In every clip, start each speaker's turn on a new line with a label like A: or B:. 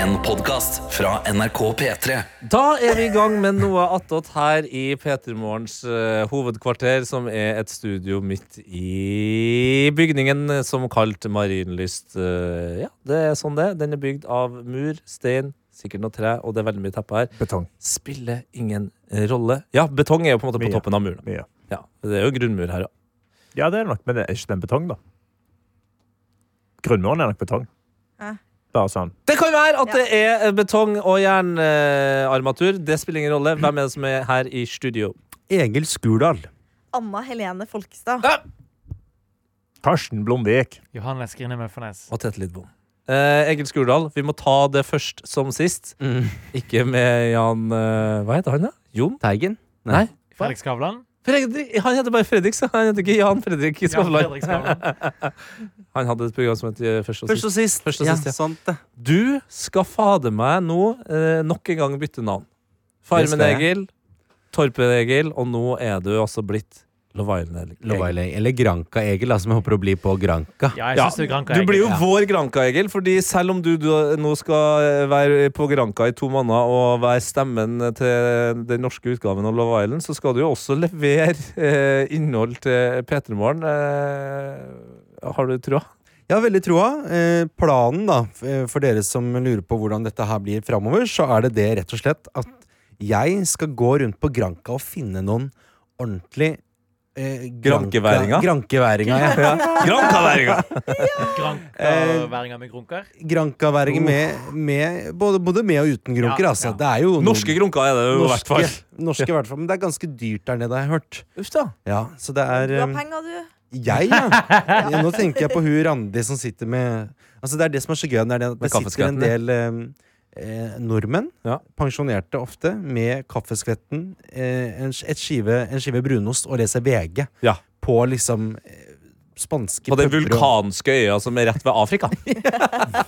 A: En podcast fra NRK P3
B: Da er vi i gang med noe attåt her i P3morgens eh, hovedkvarter, som er et studio midt i bygningen som kalt Marienlyst. Eh, ja, det er sånn det. er. Den er bygd av mur, stein, sikkert noe tre, og det er veldig mye teppe her.
C: Betong.
B: Spiller ingen rolle. Ja, betong er jo på en måte på
C: Mye.
B: toppen av muren.
C: Mye.
B: Ja, det er jo grunnmur her, ja.
C: Ja, det er det nok, men det er ikke den betong, da. Grunnmuren er nok betong.
D: Hæ?
C: Bare sånn.
B: Det kan være at
D: Ja.
B: det er betong og jernarmatur. Det spiller ingen rolle. Hvem er det som er her i studio?
E: Egil Skurdal.
D: Anna Helene Folkestad.
C: Karsten Blomvik.
F: Johannes Grine Møffernes.
B: Og Tete Lidbom. Eh, Egil Skurdal, vi må ta det først som sist.
E: Mm.
B: Ikke med Jan eh, Hva heter han, da? Jon?
E: Teigen?
B: Nei.
F: Fredrik Skavlan.
B: Fredrik, han heter bare Fredrik, så han heter ikke Jan Fredrik
F: Jan
B: Skavlan.
F: Fredrik Skavlan.
B: han hadde et program som het eh, Først og
E: Først
B: sist.
E: og sist.
B: Først og sist, ja.
E: ja. Sant det.
B: Du skal fader meg nå eh, nok en gang bytte navn.
E: Det skal
B: Farmen
E: jeg.
B: Egil, Torpen Egil, og nå er du altså blitt Love Island Egil.
E: Lova Eller eller Granka Egil, da, som jeg håper å bli på Granka.
F: Ja, jeg
B: Ja,
F: synes du er granka.
B: Du
F: Egil.
B: blir jo
F: Ja.
B: vår Granka, Egil. Fordi selv om du, du nå skal eh, være på Granka i to måneder og være stemmen til den norske utgaven av Love Island, så skal du jo også levere eh, innhold til P3 Morgen. Eh, har du trua?
E: Jeg har veldig troa. Eh, planen, da, f- eh, for dere som lurer på hvordan dette her blir framover, så er det det rett og slett at jeg skal gå rundt på Granka og finne noen ordentlig eh, Granka-
B: Grankeværinger?
E: Grankeværinger, ja.
B: Grankaværinga!
F: Grankaværinga med grunker.
E: Grankaværinger med, med både, både med og uten grunker,
F: Ja,
E: altså.
F: ja.
E: Det er jo noen-
B: Norske grunker er det jo i hvert fall.
E: norske, norske i hvert fall. Men det er ganske dyrt der nede, har jeg hørt.
B: Uff da.
E: Ja, så det er
D: Du har
E: eh,
D: penger, du.
E: Jeg, ja. ja. Nå tenker jeg på hun Randi som sitter med Altså Det er det som er så gøy. Det, er det, at
B: Med
E: det sitter en
B: kaffeskvetten,
E: del eh, eh, nordmenn,
B: Ja.
E: pensjonerte ofte, med kaffeskvetten, eh, en, et skive, en skive brunost og leser VG
B: Ja.
E: på liksom eh, spanske
B: På den
E: puber og-
B: vulkanske øya som er rett ved Afrika.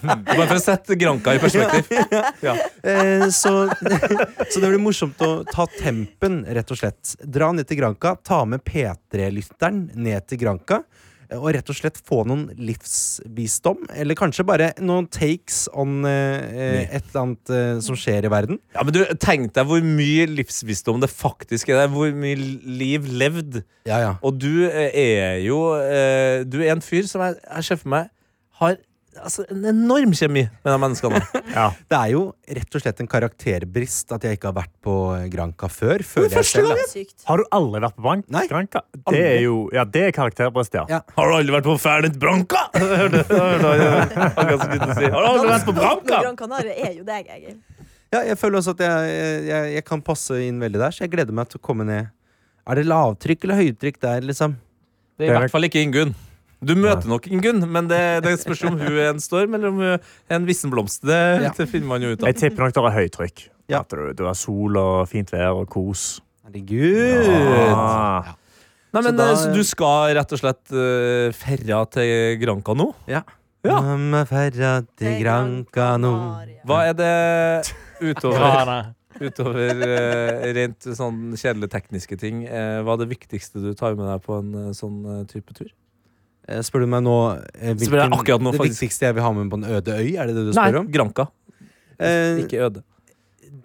B: Bare for å sette Granka i perspektiv.
E: Eh, så, så det blir morsomt å ta tempen, rett og slett. Dra ned til Granka, ta med P3-lytteren ned til Granka. eh, Og rett og slett få noen livsvisdom, eller kanskje bare noen takes on eh, eh, et eller annet eh, som skjer i verden.
B: Ja, men du, Tenk deg hvor mye livsvisdom det faktisk er der. Hvor mye liv levd.
E: Ja, ja.
B: Og du eh, er jo eh, Du er en fyr som jeg, jeg ser for meg har altså, en enorm kjemi med de menneskene.
E: Det er jo rett og slett en karakterbrist at jeg ikke har vært på Granka før. Føler jeg selv. da.
D: Sykt.
C: Har du aldri vært på bank?
E: Nei.
C: Granka? Det
E: Aldri.
C: er jo Ja, det er karakterbrist, ja.
E: Ja.
B: Har du aldri vært på Fernet Branca? Hørte- hørte han, eh, akkurat som gutten sier. Har du aldri vært på Branca?
D: Gran Canaria er jo deg, Egil.
E: Ja, jeg føler også at jeg, jeg, jeg kan passe inn veldig der, så jeg gleder meg til å komme ned. Er det lavtrykk eller høytrykk der, liksom?
B: Det er i hvert fall ikke Ingunn. Du møter nok Ingunn, men det, det spørs om hun er en storm eller om hun er en vissen blomst. Det,
E: Ja.
B: det finner man jo ut av.
C: Jeg tipper nok det er høytrykk.
E: Ja.
C: At det, det er sol og fint vær og kos.
E: Herregud!
C: Ah.
B: Nei, men,
E: Så da-
B: eh, så du skal rett og slett uh, ferja til Granca nå? Ja.
E: Mamma ferra til Granca nå.
D: Canaria.
B: Hva er det utover
F: Grana.
B: Utover eh, rent sånn kjedelige tekniske ting, eh, hva er det viktigste du tar med deg på en eh, sånn eh, type tur?
E: Eh, Spør du meg nå eh,
B: Spør jeg
E: hvilken,
B: akkurat nå,
E: det
B: faktisk.
E: viktigste jeg vil ha med på en øde øy? Er det det du spør om?
B: Granka.
E: Eh,
B: Ikke øde.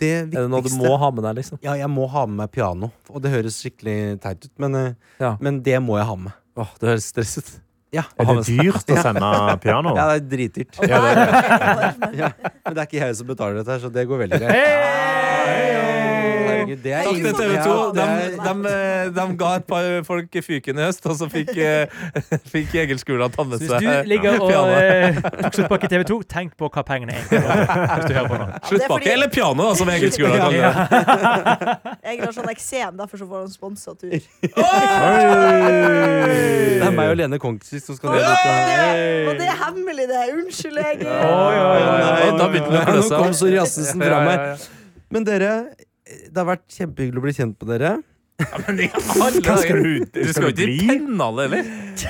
E: det
B: Er det noe du må
E: viktigste
B: ha med deg, liksom?
E: Ja, jeg må ha med meg piano. Og det høres skikkelig teit ut, men, eh,
B: Ja.
E: men det må jeg ha med.
B: Åh, det høres stress ut.
E: Ja,
C: Er det dyrt å sende piano?
E: ja det er dritdyrt.
D: Og der er Egil.
E: Ja, men det er ikke jeg som betaler dette, her, så det går veldig greit. Herregud, det er
B: Takk til
E: ingen-
B: TV 2.
E: Ja,
B: De,
E: det er-
B: de, eh, de ga et par folk fyken i høst, og så fikk, eh, fikk Egil Skula ta med
F: Hvis
B: seg
F: du ligger og
B: pianoet.
F: eh, tok sluttpakke i TV 2, tenk på hva pengene er. Hvis du hører på nå.
B: Sluttpakke,
D: fordi-
B: eller piano, da, som Egil Skula kaller det.
D: Egil har sånn eksem, derfor så får han sponsa tur.
E: Det er meg og Lene Kongsvik som skal ned dette.
D: Og det er hemmelig, det. Unnskyld, Egil.
B: Nei, da begynte det å
E: Nå
B: klø seg.
E: kom psoriasisen
B: Ja,
E: fra
B: ja,
E: meg.
B: ja.
E: Men dere, det har vært kjempehyggelig å bli kjent med dere.
B: Hva skal du Du skal jo
C: skal
B: ikke
C: du
B: i
C: bli?
B: pennale, eller?
F: Jeg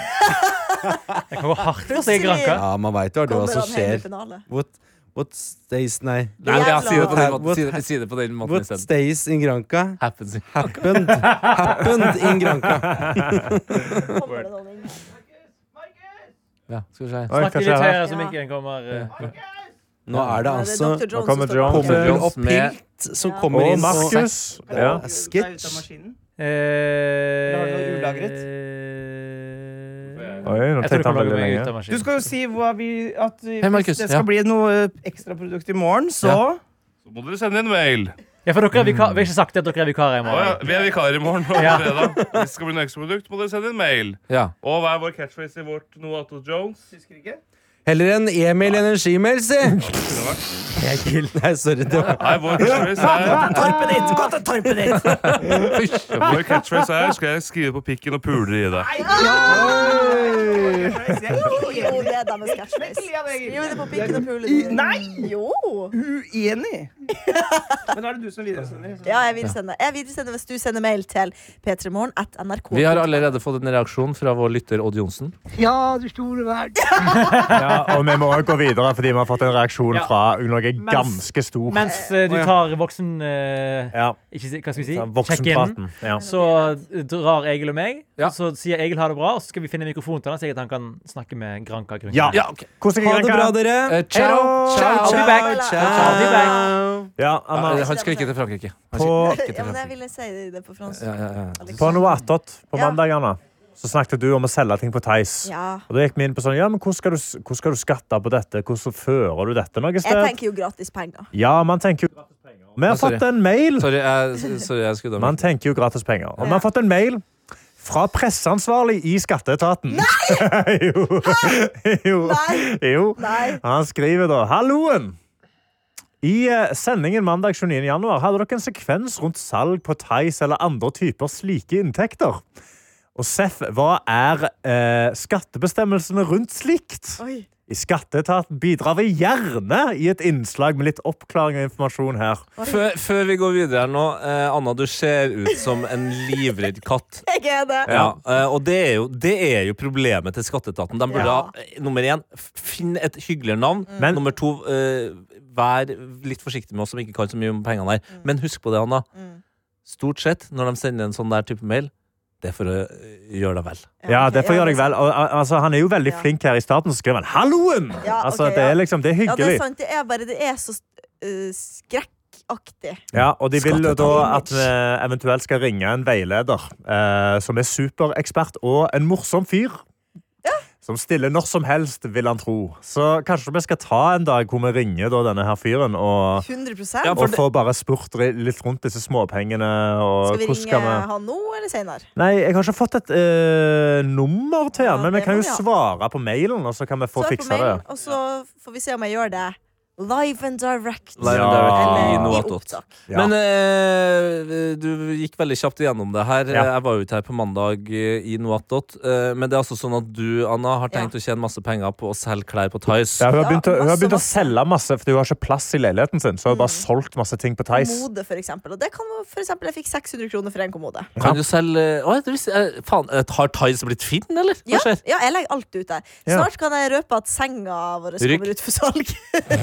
F: kan gå hardt for seg i Granka.
E: Ja, man veit jo hva
D: Kommer
E: som
D: han hjem i
E: skjer.
D: finale?
E: What, what stays Nei.
B: Nei, altså, men jeg sier det på den måten,
E: What
B: si det, si det på den måten
E: What
B: isteden.
E: stays in Granca
B: Happens.
E: happened. Happened in Granca.
D: Kommer det noen inn?
B: Ja, skal vi se.
C: Oi,
F: Snakk
C: hva
F: litt
C: skjer her?
F: høyere så mikken kommer. eh.
E: Nå
D: Nei,
E: er det
D: det er
E: altså
D: Dr. Jones
C: kommer
D: som står bak.
C: John.
E: Pommel og
B: Jones med-
E: Pilt som
D: Ja.
E: kommer
C: Og
E: inn og
C: Markus. Ja.
E: Ja. Sketsj.
G: Ut av maskinen.
F: Eller
G: har du noe ulagret?
C: Oi, nå
F: Eh, Jeg tror
C: tenkte
F: ikke
C: han
F: han lager
C: veldig
F: meg ut
C: lenge.
F: av
G: Du
F: maskinen.
G: skal jo si hva vi At vi-
B: Hei, Markus.
G: hvis det skal
B: Ja.
G: bli noe ekstraprodukt i morgen, så
H: Så må dere sende inn mail.
F: Ja, for dere er vikar, Vi har ikke sagt at dere er
H: Å,
F: vikarer i
H: ja.
F: morgen.
H: Vi er vikarer i morgen og
F: Ja.
H: fredag. Hvis det skal bli noe ekstraprodukt, må dere sende inn mail.
B: Ja.
H: Og hva er vår catchphrase i vårt Noato Jones?
G: Husker ikke?
E: Heller en Emil Energimail, si! Nei, sorry. Det var
H: Nei, vår catchphrase er,
G: Torpet ditt! Gå til torpet ditt!
H: vår catchphrase er Skal jeg skrive på pikken og puler i
G: Ah!
H: deg?
D: Jo, det er deres catchphrase. Skriv det på pikken og pulen.
G: Nei!
D: Jo!
G: Uenig! Men nå er det du som videresender.
D: Ja, jeg vil sende. Jeg vil sende hvis du sender mail til p3morgen at nrk.
B: Vi har allerede fått en reaksjon fra vår lytter Odd Johnsen.
C: Ja, og vi må også gå videre, fordi vi har fått en reaksjon
F: Ja.
C: fra noe
F: Mens-
C: ganske stort.
F: Mens eh, du tar voksen... eh,
C: Ja,
F: ikke, si- hva skal vi si?
C: ta
F: Check-in.
C: voksenpraten. Ja.
F: Så drar Egil og meg,
B: Ja.
F: og så sier Egil ha det bra, og så skal vi finne en mikrofon til han, slik at han kan snakke med Granka Grunke.
C: Ja.
B: Ja, ok.
C: Hvordan
E: Ha
C: gikk
E: det bra, dere.
B: Eh, ciao.
F: I'll be back. I'll be back.
C: Ja, Anna,
B: Eh, Han skal ikke til Frankrike. Han skal
C: på,
B: ikke
D: Ja,
B: til
D: men jeg
B: Frankrike.
D: ville si det på fransk.
B: Ja, ja, ja.
C: på noe attåt på
D: Ja.
C: mandagene så snakket du om å selge ting på Theis.
D: Ja.
C: Og da gikk vi inn på sånn, ja, men hvordan skal du, hvordan skal du skatte på dette? Hvordan fører du dette noe
D: Jeg
C: sted?
D: tenker jo gratis penger.
C: Ja, man tenker jo Vi
B: Ja,
C: har
B: sorry.
C: fått en mail!
B: Sorry, jeg, sorry, jeg skulle
C: Man tenker jo gratis penger. Og vi har fått en mail fra presseansvarlig i Skatteetaten. Nei! jo. jo.
D: Nei.
C: jo.
D: Nei.
C: Han skriver da Halloen! I eh, sendingen mandag 29. januar hadde dere en sekvens rundt salg på Theis eller andre typer slike inntekter. Og Seff, hva er eh, skattebestemmelsene rundt slikt?
D: Oi.
C: I Skatteetaten bidrar vi gjerne i et innslag med litt oppklaring og informasjon her.
B: Før, før vi går videre her nå, eh, Anna, du ser ut som en livredd katt.
D: Jeg er det.
B: Ja, eh, og det er, jo, det er jo problemet til skatteetaten. De burde
D: Ja. Mm.
B: ha eh, nummer én, f- finn et hyggeligere navn.
C: Men-
B: Nummer to, eh, vær litt forsiktig med oss som ikke kan så mye om pengene her. Men husk på det, Anna.
D: Mm.
B: Stort sett når de sender en sånn der type mail, det er for å eh, gjøre deg vel.
C: Ja,
D: ok,
C: det får gjøre deg vel. Og, al- altså, han er jo veldig
D: Ja.
C: flink her i starten, så skriver han 'halloen'!
D: Ja,
C: altså,
D: ok,
C: det
D: ja.
C: er liksom, det er
D: Ja, det
C: hyggelig.
D: er sant. Det er bare Det er så eh, skrekkaktig.
C: Ja, og de vil jo da at
D: Skatteetaten.
C: vi eventuelt skal ringe en veileder eh, som er superekspert og en morsom fyr. Som stiller når som helst, vil han tro. Så kanskje vi skal ta en dag hvor vi ringer da, denne her fyren og,
D: 100
B: Ja, for
C: og
B: det-
C: få bare spurt ri- litt rundt disse småpengene. Og
D: Skal vi
C: hvordan
D: ringe
C: skal vi
D: han nå eller senere?
C: Nei, jeg har ikke fått et eh, nummer til han,
D: Ja,
C: men vi
D: det
C: kan jo
D: må vi ha.
C: svare på mailen, og så kan vi få
D: Svar på
C: fiksa det.
D: mailen, Og så får vi se om jeg gjør det live and direct.
B: Live and
C: direct i
D: Eller
B: noe
D: i
B: attåt.
D: opptak.
C: Ja.
B: Men eh, du gikk veldig kjapt igjennom det her.
C: Ja.
B: Jeg var jo ikke her på mandag eh, i Noatot. eh, men det er altså sånn at du, Anna, har tenkt å tjene masse penger på å selge klær på Tice.
C: Ja, hun har
D: Ja,
C: begynt, å, hun har
D: masse,
C: begynt å
D: masse. Mm.
C: selge masse, fordi hun har ikke plass i leiligheten sin. Så hun har bare solgt masse ting på Theis.
D: Kommode, for eksempel. Og det kan jo- for eksempel, jeg fikk 600 kroner for en kommode.
B: Kan du selge Å, jeg visste- eh, faen, eh, Har Tice blitt fin, eller? Hva
D: Ja,
B: skjer?
D: ja, jeg legger alt ut der.
C: Ja.
D: Snart kan jeg røpe at senga vår
B: Rykk.
D: kommer ut for salg.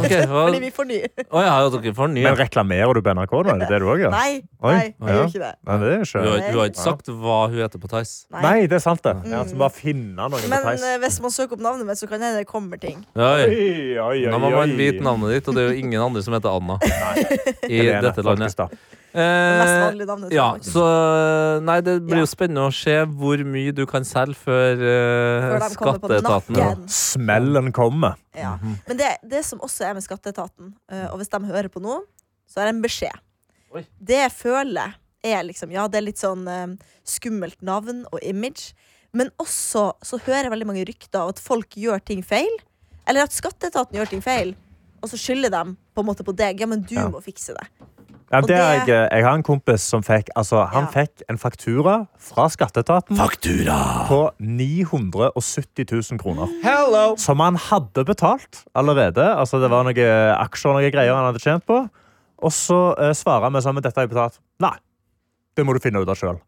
B: Ok, hva-
D: Fordi vi får ny.
B: Å ja, ja, dere får en ny.
C: Men reklamerer du på NRK, da? Er det det du òg gjør?
D: Nei,
C: Oi.
D: nei, jeg
C: Ja.
D: gjør ikke det.
C: Nei, det er
B: Hun
C: ikke.
B: har hun har ikke sagt hva hun heter på Tice.
C: Nei, det er sant, det. Ja, så bare finne noen på
D: Mm. Men
C: Theis.
D: eh, hvis man søker opp navnet mitt, så kan det hende det kommer ting.
B: Oi.
C: Oi, oi,
B: Nå må man vite navnet ditt, og det er jo ingen andre som heter Anna i
C: Helene,
B: dette landet.
C: faktisk, da.
D: Det mest
B: Eh,
D: vanlige navnet. tror
B: Ja,
D: jeg.
B: så eh, Nei, det blir
D: Ja.
B: jo spennende å se hvor mye du kan selge før, eh,
D: Før de kommer på
B: skatteetaten
D: nakken.
C: Smellen kommer.
D: Ja. Men det, det som også er med skatteetaten, eh, og hvis de hører på nå, så er det en beskjed.
B: Oi.
D: Det jeg føler er liksom Ja, det er litt sånn eh, skummelt navn og image, men også så hører jeg veldig mange rykter av at folk gjør ting feil. Eller at skatteetaten gjør ting feil, og så skylder de på en måte på deg. Ja, men du
C: Ja.
D: må fikse det.
C: Ja,
D: Og
C: det er
D: det-
C: jeg, eh, jeg har en kompis som fikk altså, Han
D: Ja.
C: fikk en faktura fra Skatteetaten
A: Faktura!
C: på 970 000 kroner. Som han hadde betalt allerede. Altså, det var noen aksjer og noen greier han hadde tjent på. Og så eh, svarer han med sånn, men dette har jeg betalt. Nei, det må du finne ut av sjøl.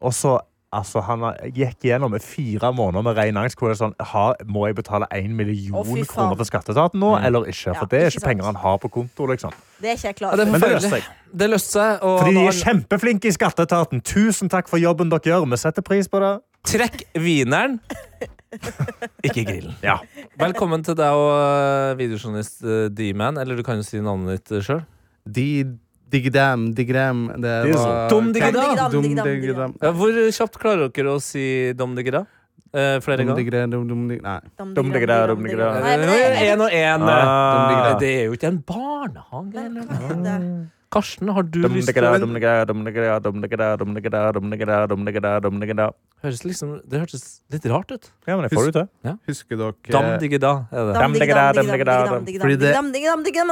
C: Og så altså, han har- gikk gjennom med fire måneder med ren angst. Hvor det er sånn, ha, må jeg betale én million
D: Å, fy faen.
C: kroner til skatteetaten nå, eller ikke?
D: Ja,
C: For det er
D: ikke
C: ikke
D: sant.
C: penger han har på konto. liksom.
D: Det er ikke jeg
B: Ja,
D: klar
B: det er
D: for.
C: Men det løste
B: forferdelig.
C: seg.
B: Det løste seg. Og
C: Fordi de
B: Anna-
C: er kjempeflinke i skatteetaten. Tusen takk for jobben dere gjør. Vi setter pris på det.
B: Trekk wieneren, ikke grillen.
C: Ja.
B: Velkommen til deg og eh, videojournalist eh, D-Man, eller du kan jo si navnet ditt eh, sjøl.
E: De Diggedam, diggedam Det
C: Diesel.
E: var
B: Dum diggedam.
E: Dum
D: Diggedam,
E: diggedam.
B: Ja, hvor kjapt klarer dere å si dom digga? Eh, flere
E: Dum
B: ganger?
E: diggedam, dum dum digg- Nei.
D: Dum,
C: Dum, digga,
D: digga,
C: dum,
D: digga.
C: digga.
D: Nei, men det er-
B: Én Eh, og én.
C: Ah.
B: Det er jo ikke en barnehage.
D: Men
B: Eller?
D: kanskje det.
B: Karsten, har du lyst til å
C: Ja,
B: høres liksom, Det hørtes litt rart ut.
C: men jeg får det til.
E: Husker
B: Dam
E: dere
B: digga da, er det.
D: Dam, digga,
C: digga,
D: dam,
C: dam, digga,
D: digga,
C: dam.
D: digga,
E: Fordi det-
D: dam, digga, dam, digga, dam.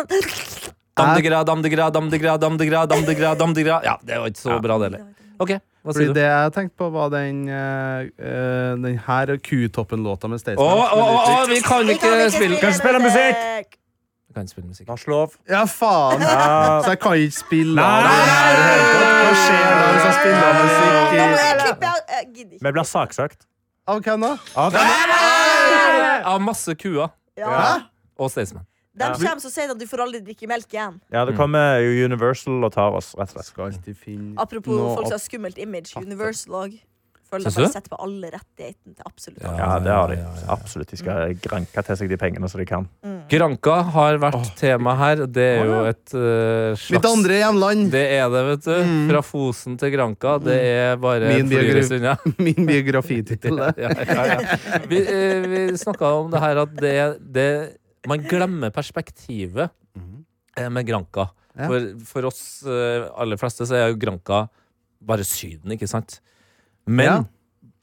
B: Dam digga, dam digga, dam digga, dam digga, dam digga, dam digga. Ja, det var ikke så bra, det heller. OK, hva
E: Fordi
B: sier du?
E: det jeg tenkte på, var den, eh, eh, den her Kutoppen-låta med
B: Å,
E: Staysman. som
B: å,
E: er
B: å,
E: litt-
B: å, vi kan ikke spille
C: Kan spille musikk?
B: Vi kan ikke spille musikk.
C: Norsk lov.
E: Ja, faen!
C: Ja.
E: Så jeg kan ikke spille
C: Nei,
E: av det her. i hele tatt. Hva skjer da hvis jeg spiller av
D: Da må jeg
E: musikk i
D: klippe av. Jeg gidder ikke.
C: Vi blir saksøkt.
E: Av hvem da?
B: Av masse kuer
D: Ja.
B: og Staysman.
D: De kommer så sier de at du får aldri drikke melk igjen.
C: Ja, det kommer Universal og tar oss, rett og slett.
E: Skal alltid finne
D: Apropos
E: noe
D: folk som
E: opp-
D: har skummelt image. Universal òg. Føler de
B: Synes du?
D: bare setter på alle rettighetene til absolutt alle.
C: Ja, det har de. Absolutt. De skal granke til seg de pengene som de kan.
B: Granka har vært tema her. og Det er jo et eh, slags
E: Mitt andre hjemland! Mm.
B: Det er det, vet du. Fra Fosen til Granka. Det er bare
E: Min
B: et flyreis
E: biografi.
B: unna.
E: Min biografitittel. det.
B: Ja, ja, ja. Vi, eh, vi snakka om det her at det, det Man glemmer perspektivet eh, med Granka.
E: Ja.
B: For, for oss eh, aller fleste så er jo Granka bare Syden, ikke sant? Men
E: Ja.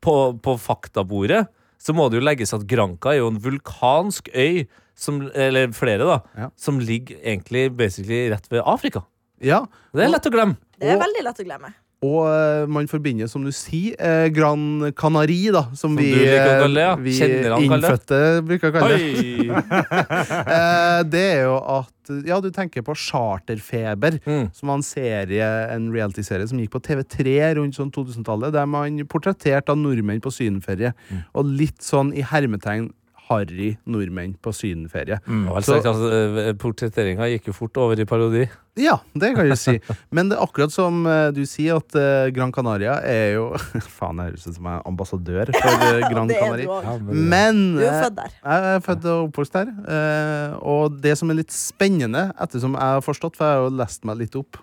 B: på, på faktabordet så må det jo legges at Granka er jo en vulkansk øy, som, eller flere, da,
E: Ja.
B: som ligger egentlig basically rett ved Afrika.
E: Ja.
B: Det er lett å glemme.
D: Det er
E: Og-
D: veldig lett å glemme.
E: Og eh, man forbinder, som du sier, eh, Gran Canari, da, som,
B: Som
E: vi,
B: du liker å
E: eh,
B: kalle det, ja.
E: vi
B: Kjenner han kaller det.
E: innfødte bruker å kalle det.
B: Oi!
E: Eh, det er jo at Ja, du tenker på Charterfeber,
B: Mm.
E: som var en serie, en reality-serie som gikk på TV3 rundt sånn 2000-tallet, der man portretterte av nordmenn på sydenferie. Og litt sånn i hermetegn harry nordmenn på sydenferie.
B: Ja, Mm, vel
E: Så-
B: sagt, altså, eh, Portretteringa gikk jo fort over i parodi.
E: Ja, det kan du si. Men det er akkurat som eh, du sier, at eh, Gran Canaria er jo Faen, jeg høres ut som jeg er ambassadør for eh, Gran
D: Det er
E: Canaria.
D: du òg.
E: Men
D: Du er jo
E: eh,
D: født der.
E: jeg er født og oppvokst der. eh, Og det som er litt spennende, ettersom jeg har forstått, for jeg har jo lest meg litt opp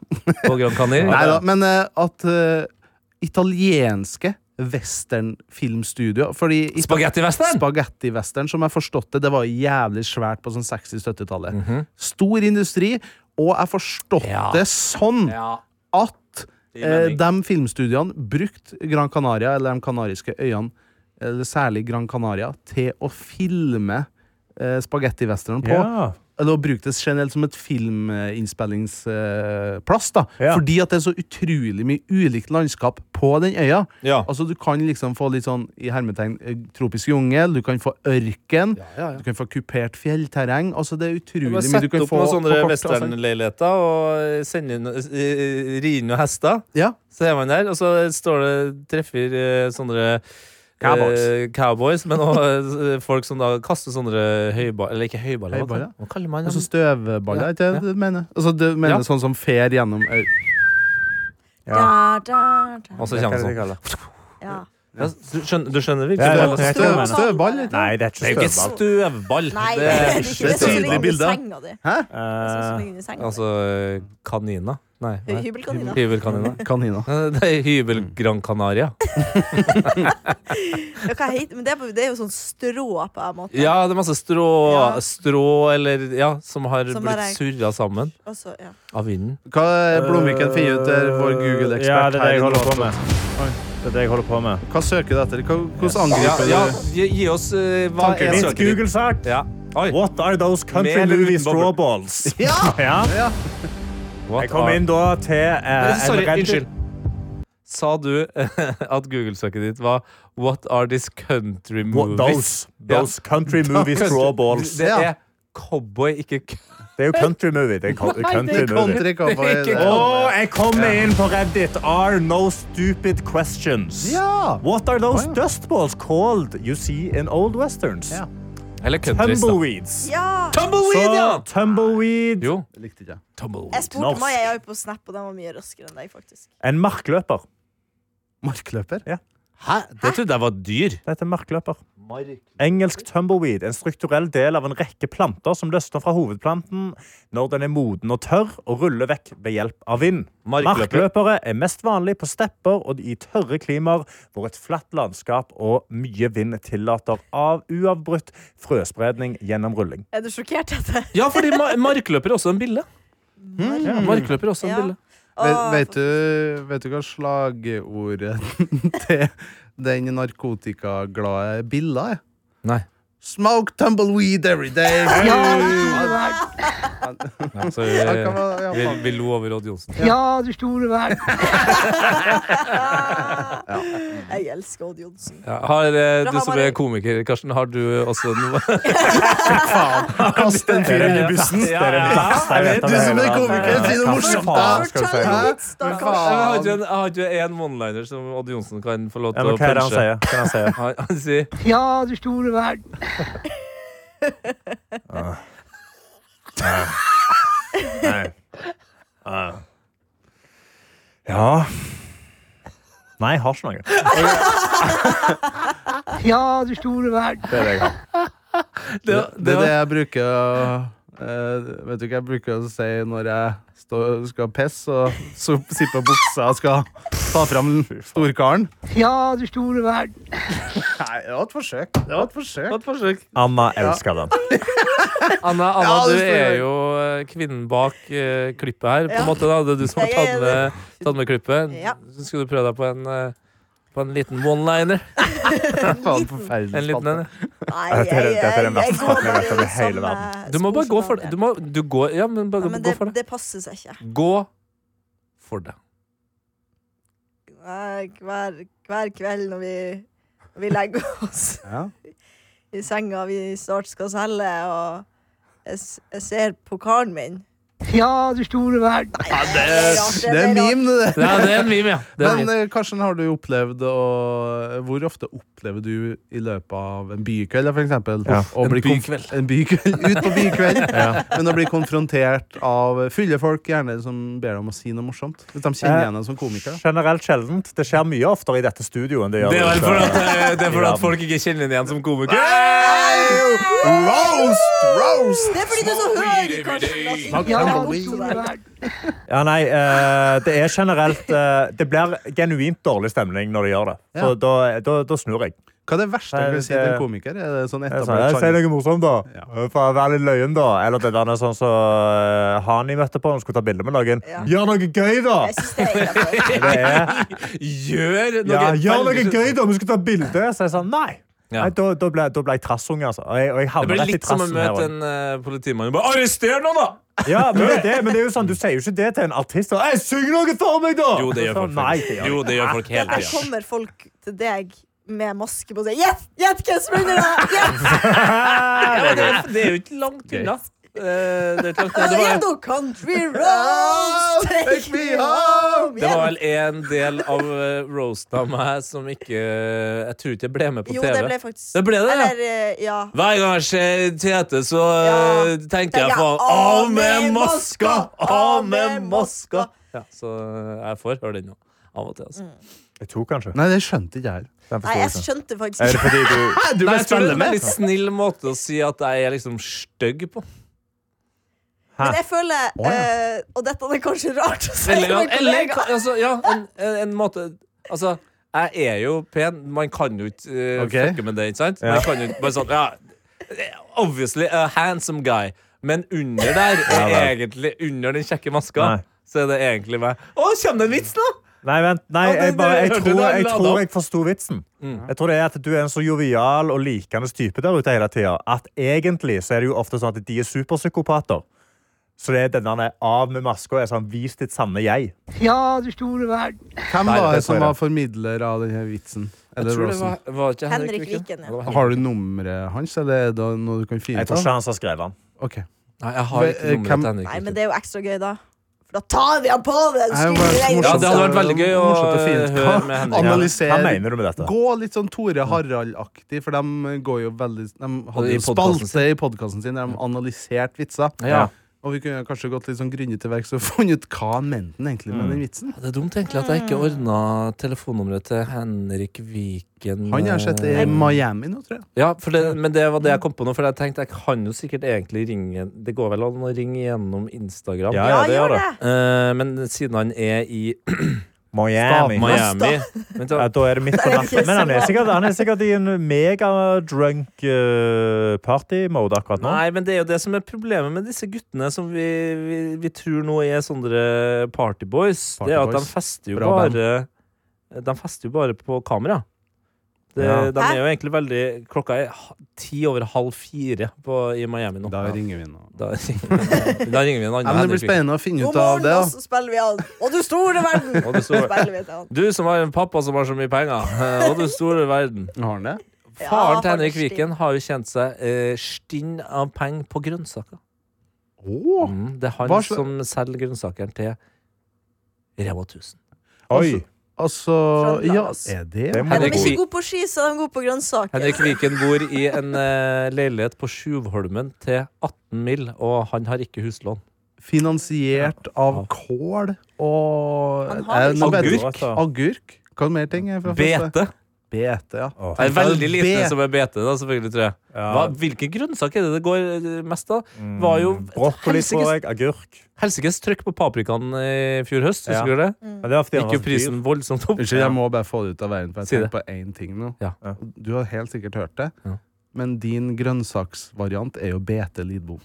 B: På Gran Canaria.
E: Neida, men eh, at eh, italienske westernfilmstudioer Fordi ita-
B: Spagetti western!
E: Spagetti-western, som jeg forstått det, det var jævlig svært på sånn 60-70-tallet. Stor industri, og jeg forstått
B: Mhm. Ja.
E: det sånn
B: Ja.
E: at
B: i
E: eh,
B: mening.
E: de filmstudiene brukte Gran Canaria, eller de kanariske øyene, eller særlig Gran Canaria, til å filme eh, spagetti-western på.
C: Ja.
E: Eller å bruke det generelt som et filminnspillingsplass. da
C: Ja.
E: Fordi at det er så utrolig mye ulikt landskap på den øya.
B: Ja.
E: Altså Du kan liksom få litt sånn i hermetegn eh, tropisk jungel, du kan få ørken, du kan få kupert fjellterreng. Altså Det er utrolig
B: Bare
E: mye du
B: Sett
E: kan
B: opp
E: få.
B: noen sånne
E: på kort altså. avstand.
B: westernleiligheter og sende inn eh, ri inn noen hester.
E: Ja.
B: Så er man der, og så står det treffer eh, sånne
C: Cowboys.
B: Eh, cowboys, men også eh, folk som da kaster sånne høyballer Eller ikke høyballer, hva,
E: Høyballer?
B: hva kaller man
E: Altså
B: dem?
E: støvballer,
B: Ja,
E: er ikke det du mener? Altså Du mener
B: Ja.
E: sånn som fer gjennom øy.
D: Da, da, da.
B: Og så kommer det sånn.
D: Ja.
B: Ja, du skjønner, du skjønner
C: Ja,
B: virkelig?
C: ja.
B: hva-
C: jeg
E: Støv,
C: mener.
E: støvball, ikke
C: Nei, det er
B: Det er jo
C: ikke
B: ikke et
C: støvball.
B: støvball.
D: Nei,
B: det er
D: ikke
E: det er
D: det sånn som ligger
E: tydelig
D: under
E: bilde.
D: senga di. Det er sånn som
C: Eh,
D: ligger under senga di.
B: Altså eh, kanina? Nei.
D: Hø-
B: nei.
D: Hybelkanina.
B: Hybelkanina.
E: Kanina.
B: Eh, Det er hybel Gran Canaria.
D: Ja, hva heter- Men det er på- det er jo sånn strå, på en måte.
B: Ja, det er masse strå,
D: Ja.
B: strå eller Ja, som har
D: Som bare
B: blitt surra sammen
D: Og så, ja.
B: av vinden.
E: Hva er Blomviken finner ut der, vår Google-ekspert?
C: Ja, det er det
E: her i
C: jeg holder på
E: Norge?
C: med. Det er det jeg holder på med.
E: Hva søker du etter? Hva- Hvordan
B: Ja,
E: angriper du?
B: ja gi, gi oss eh, hva
E: Tanker.
B: er
C: Min
B: søket ditt?
C: Google-sak.
B: Ja. Oi.
C: What are those country
B: Med eller
C: movie
B: uten bobler?
C: straw balls? Ja!
B: What
C: Jeg kom
B: are-
C: inn da til eh,
B: Eh, Sorry,
C: en redd-
B: unnskyld. Sa du at Google-søket ditt var What are these country
C: What,
B: movies?
C: those those country movie straw balls.
B: Det
E: Ja.
B: er cowboy, ikke k-
C: Det er jo country movie. Det er co- country movie.
E: Country cowboy.
B: Det er ikke
E: det.
C: Og jeg kommer inn på Reddit. Are no stupid questions.
E: Ja!
C: What are those
E: Å, ja.
C: dust balls called you see in old westerns?
E: Ja.
B: Eller countries, da.
C: Tumbleweeds.
D: ja.
B: Tumbleweed,
C: Så
B: ja!
C: tumbleweed
B: Jo.
E: Det likte ikke jeg.
D: Jeg spurte
C: Norsk.
D: Maja jeg var på Snap, og den var mye raskere enn deg, faktisk.
C: En markløper.
E: Markløper?
C: Ja.
B: Hæ? Det trodde jeg var dyr.
C: Det heter markløper. Engelsk tumbleweed, en strukturell del av en rekke planter som løsner fra hovedplanten når den er moden og tørr, og ruller vekk ved hjelp av vind.
B: Markløper.
C: Markløpere er mest vanlig på stepper og i tørre klimaer hvor et flatt landskap og mye vind tillater av uavbrutt frøspredning gjennom rulling.
D: Er du sjokkert etter
B: Ja, fordi ma markløper er også en bille.
D: det?
B: Markløper er også en
D: Ja.
B: bille.
D: Åh,
I: Vet, vet,
E: Eh,
I: du, vet du hva slagordet til den narkotikaglade Billa er?
B: Nei.
I: Smoke tumbleweed every day!
B: Ja, så
I: Ja, kan
B: vi,
I: man- ja,
B: vi,
I: faen.
B: vi lo over Odd Johnsen.
D: Jeg elsker Odd Johnsen.
B: Ja, har, eh,
D: Da
B: du
D: har
B: som
D: man-
B: er komiker, Karsten, har du også noe
C: Kast den fyren i bussen!
I: Du som er komiker, si noe morsomt, da!
D: Fortell vits, da!
B: Jeg
D: Karsten.
B: har ikke en- jeg har ikke en one-liner som Odd Johnsen kan få lov
C: Ja,
B: til
C: men
B: å
C: hva er det han
B: punche.
C: sier? Hva er det han sier?
B: Han, han sier
C: Ja Nei, jeg har ikke noe. ja, du store verden. Det er det jeg har.
I: Det det er det jeg bruker å- eh, Vet du hva jeg bruker å si når jeg står- skal pisse og så sitter på buksa og skal ta fram storkaren? Ja, du store verden. Nei, det var et forsøk. Det var et forsøk.
B: et forsøk.
C: Anna elsker den.
B: Anna, Anna
I: Ja, det
B: du
I: står
B: er
I: jeg.
B: jo eh, kvinnen bak eh, klippet her. På en
D: Ja.
B: måte da, Det er du som har
D: Jeg
B: tatt
D: er
B: med, tatt med klippet.
D: Ja.
B: Så skal du prøve deg på en, eh, på en liten one-liner.
I: Faen, forferdelig
B: En liten en.
D: Nei,
C: Dette er-
D: jeg-
C: dette er den
D: jeg- jeg
C: verste
D: går
C: saken jeg vet om i
D: bare
C: hele
D: som,
C: verden.
D: eh,
B: Du må bare gå for
D: sportsmann,
B: det.
D: jeg.
B: Du, må, du går, ja, men bare
D: Ja, men
B: gå for
D: det,
B: det.
D: det passer seg ikke.
B: Gå for det.
D: Hver, hver, hver kveld når vi, når vi legger oss
I: Ja.
D: i senga vi snart skal selge, og jeg, s- jeg ser pokalen min Ja, du store verden!
I: Det er meme, det der.
B: Ja, det er en meme, ja. Det er en
I: Men
B: meme.
I: eh, Karsten, har du opplevd å Hvor ofte opplever du i løpet av en bykveld, da, for eksempel?
C: Ja,
I: å
B: en
I: bli konf-
B: bykveld.
I: En bykveld. Ut på bykveld. Men å bli konfrontert av fulle folk, gjerne som ber deg om å si noe morsomt. Hvis de kjenner
C: Eh,
I: igjen deg som komiker. da.
C: Generelt sjeldent. Det skjer mye oftere i dette studioet enn det gjør
B: Det er vel
C: ute.
B: for at, eh, det er for at folk ikke kjenner den igjen som komiker.
I: Roast! Roast!
D: Det er fordi du er så høy, Karsten! altså.
I: Ja,
D: du store verden.
C: Ja, nei, eh, det er generelt eh, Det blir genuint dårlig stemning når de gjør det. Så
I: Ja.
C: da, da, da snur jeg.
I: Hva er det verste du kan si til en komiker? Er det sånn
C: Jeg sa, jeg
I: etablert
C: sier
I: sjanger?
C: noe morsomt, da.
I: Ja.
C: Eh, For å være litt løyen, da. Eller det der er sånn som så, Hani møtte på, hun skulle ta bilde med noen.
D: Ja.
C: Gjør noe gøy, da!
D: Jeg syns det er helt greit.
C: Det er
B: Gjør noe
C: Ja, gjør noe
B: veldig-
C: gøy, da! Vi skal ta bilde! Så jeg sa nei.
B: Ja.
C: nei da, da ble, da ble jeg trassunge, altså. Og jeg, og jeg
B: Det
C: havna
B: blir
C: rett i
B: litt som å
C: trassen her
B: møte
C: også.
B: en eh, politimann og bare 'Arrester nå, da!'
C: Ja, men det, er det, men det er jo sånn, du sier jo ikke det til en artist. Og, «Ei, Syng noe for meg, da!
B: Jo, det gjør
C: Så, sånn,
B: folk.
C: Nei,
B: faktisk.
C: det gjør
B: Jo, det gjør folk hele
D: Der
B: tida.
D: kommer folk til deg med maske på og sier 'gjett gjett hvem som er under deg'! Gjett!
B: Ja, det, er, det er jo ikke langt unna. Eh, Det, er ikke langt unna. det,
D: Er
B: var,
D: du country roads? Take me home!
B: det var vel en del av eh, roasten av meg som ikke eh, Jeg tror ikke jeg ble med på
D: Jo,
B: TV.
D: det ble faktisk
B: Det ble det, ja.
D: Eller, eh, ja.
B: Hver gang jeg ser Tete, så eh,
D: Ja.
B: tenker jeg faen Av med maska! Av med maska! Ja, så eh, jeg får høre den nå. Av og til, altså.
C: Jeg tok kanskje.
I: Nei, det skjønte ikke jeg.
C: Den
D: Nei,
C: forstår
D: jeg
C: jeg ikke.
D: skjønte faktisk
C: Er det
D: ikke.
C: fordi du
I: Du
B: Nei, jeg tror det er en veldig snill måte å si at jeg er liksom stygg på.
D: Men jeg føler eh, Og dette er kanskje rart å si
B: Eller,
D: til en
B: eller
D: kollega.
B: altså, ja, en, en, en måte Altså, jeg er jo pen. Man kan jo ikke eh,
I: Ok.
B: fucke med det, ikke sant? Man kan jo ikke bare sånn ja, Obviously a handsome guy. Men under der, er
C: vel.
B: egentlig under den kjekke maska,
C: Nei.
B: så er det egentlig meg. Å, kommer det en vits, da?
C: Nei, vent. Nei,
B: Ja, det-
C: jeg, bare, jeg,
B: det-
C: tror, jeg
B: la det
C: tror
B: opp.
C: jeg forsto vitsen. Jeg tror det er at du er en så jovial og likende type der ute hele tida at egentlig så er det jo ofte sånn at de er superpsykopater. Så det er den der av med maska og er sånn vis ditt sanne jeg.
I: Hvem
C: Nei,
I: var
C: det
I: det som
C: tror jeg.
I: var formidler av denne vitsen? Eller roasten?
B: var, var ikke
D: Henrik Viken. Ja.
I: Har du nummeret hans, eller er det noe du kan finne
C: Jeg
I: ut
C: tror
I: av?
C: ikke han som har skrevet den.
I: Ok.
B: Nei, jeg har
I: Men, eh,
B: ikke nummeret
I: hvem-
B: til Henrik
D: Nei, men
B: Viken.
D: det er jo ekstra gøy, da. For da tar vi han på den
I: Nei, det var
D: skriveregnen!
B: Ja,
I: morsomt.
B: det hadde vært veldig gøy å
I: Morsomt og fint.
B: høre med Henrik.
I: Analyse-
C: Hva mener du med dette?
I: Gå litt sånn Tore Harald-aktig, for de går jo veldig De
B: Og
I: hadde
B: i
I: jo
B: podcasten
I: spalte i podkasten sin der de analyserte vitser.
B: Ja.
I: Og vi kunne kanskje gått litt sånn grundig til verks og funnet ut hva han mente han egentlig med den vitsen.
B: Det er dumt egentlig at jeg
D: Mm.
B: ikke ordna telefonnummeret til Henrik Viken.
I: Han har sett det
B: eh,
I: i Miami nå, tror jeg.
B: Ja, for det, men det var det jeg kom på nå. For jeg tenkte jeg kan jo sikkert egentlig ringe Det går vel an å ringe gjennom Instagram?
C: Ja,
D: ja, det gjør det.
B: Eh, men siden han er i
C: Miami.
B: Miami Vent da.
C: Ja, da er det midt på
D: Det er
C: natten.
D: ikke
C: Men han er
D: så
C: sikkert, han er sikkert i en megadrunk uh, party-mode akkurat nå.
B: Nei, men det er jo det som er problemet med disse guttene som vi, vi, vi tror nå er sånne partyboys. det er at de
I: Partyboys.
B: fester jo
I: Bra band.
B: bare De fester jo bare på kamera. Det,
C: Ja.
B: De
D: Hæ?
B: er jo egentlig veldig Klokka er ha- ti over halv fire på, i Miami nå.
I: Da
B: Ja.
I: ringer vi nå.
B: Da ringer, da ringer vi en
I: Ja, men det
B: annen.
I: blir spennende å finne
D: God
I: ut av
D: morgen,
I: det.
D: og
I: da.
D: så spiller vi an. Og du store verden!
B: Og du store-
D: Spiller vi til han.
B: du som har en pappa som har så mye penger, eh, og du store verden.
I: Har han det?
B: Faren til
D: Ja,
B: Henrik
D: faktisk.
B: Viken har jo tjent seg eh, stinn av penger på grønnsaker.
I: Åh,
B: Mm, det er han
I: Hva slags-
B: som selger grønnsakene til Rema 1000.
C: Oi.
I: Altså Ja,
D: Trøndelag, ass.
I: er det
C: Det må
D: Er de
B: Henrik
D: ikke
B: Vi-
D: gode på ski, så er de gode på grønnsaker.
B: Henrik Viken bor i en eh, leilighet på Sjuvholmen til 18 mill., og han har ikke huslån.
I: finansiert av kål og
D: Han har liksom-
I: Eh, nå vet-
B: Agurk?
C: Altså,
I: Agurk? Hva mer ting er fra første?
B: Bete.
I: Bete, ja.
B: Det er veldig lite
I: Bete.
B: som er bete, da, selvfølgelig, tror jeg. Hva,
C: Ja. Mm,
B: hvilke grønnsaker er det det går eh, mest av? Var jo
C: Brokkoli,
B: helsikes-
C: tror jeg. Agurk.
B: Helsikes trøkk på paprikaen i fjor høst,
C: Ja.
B: husker du det?
F: Mm.
C: Men det er fordi han
B: Gikk jo
C: var så dyr.
B: prisen voldsomt opp.
I: Unnskyld, jeg må bare få det ut av verden, for
B: Si
I: jeg tenker på én ting nå.
B: Ja.
C: Ja.
I: Du har helt sikkert hørt det,
B: Ja.
I: men din grønnsaksvariant er jo Bete Lidbom.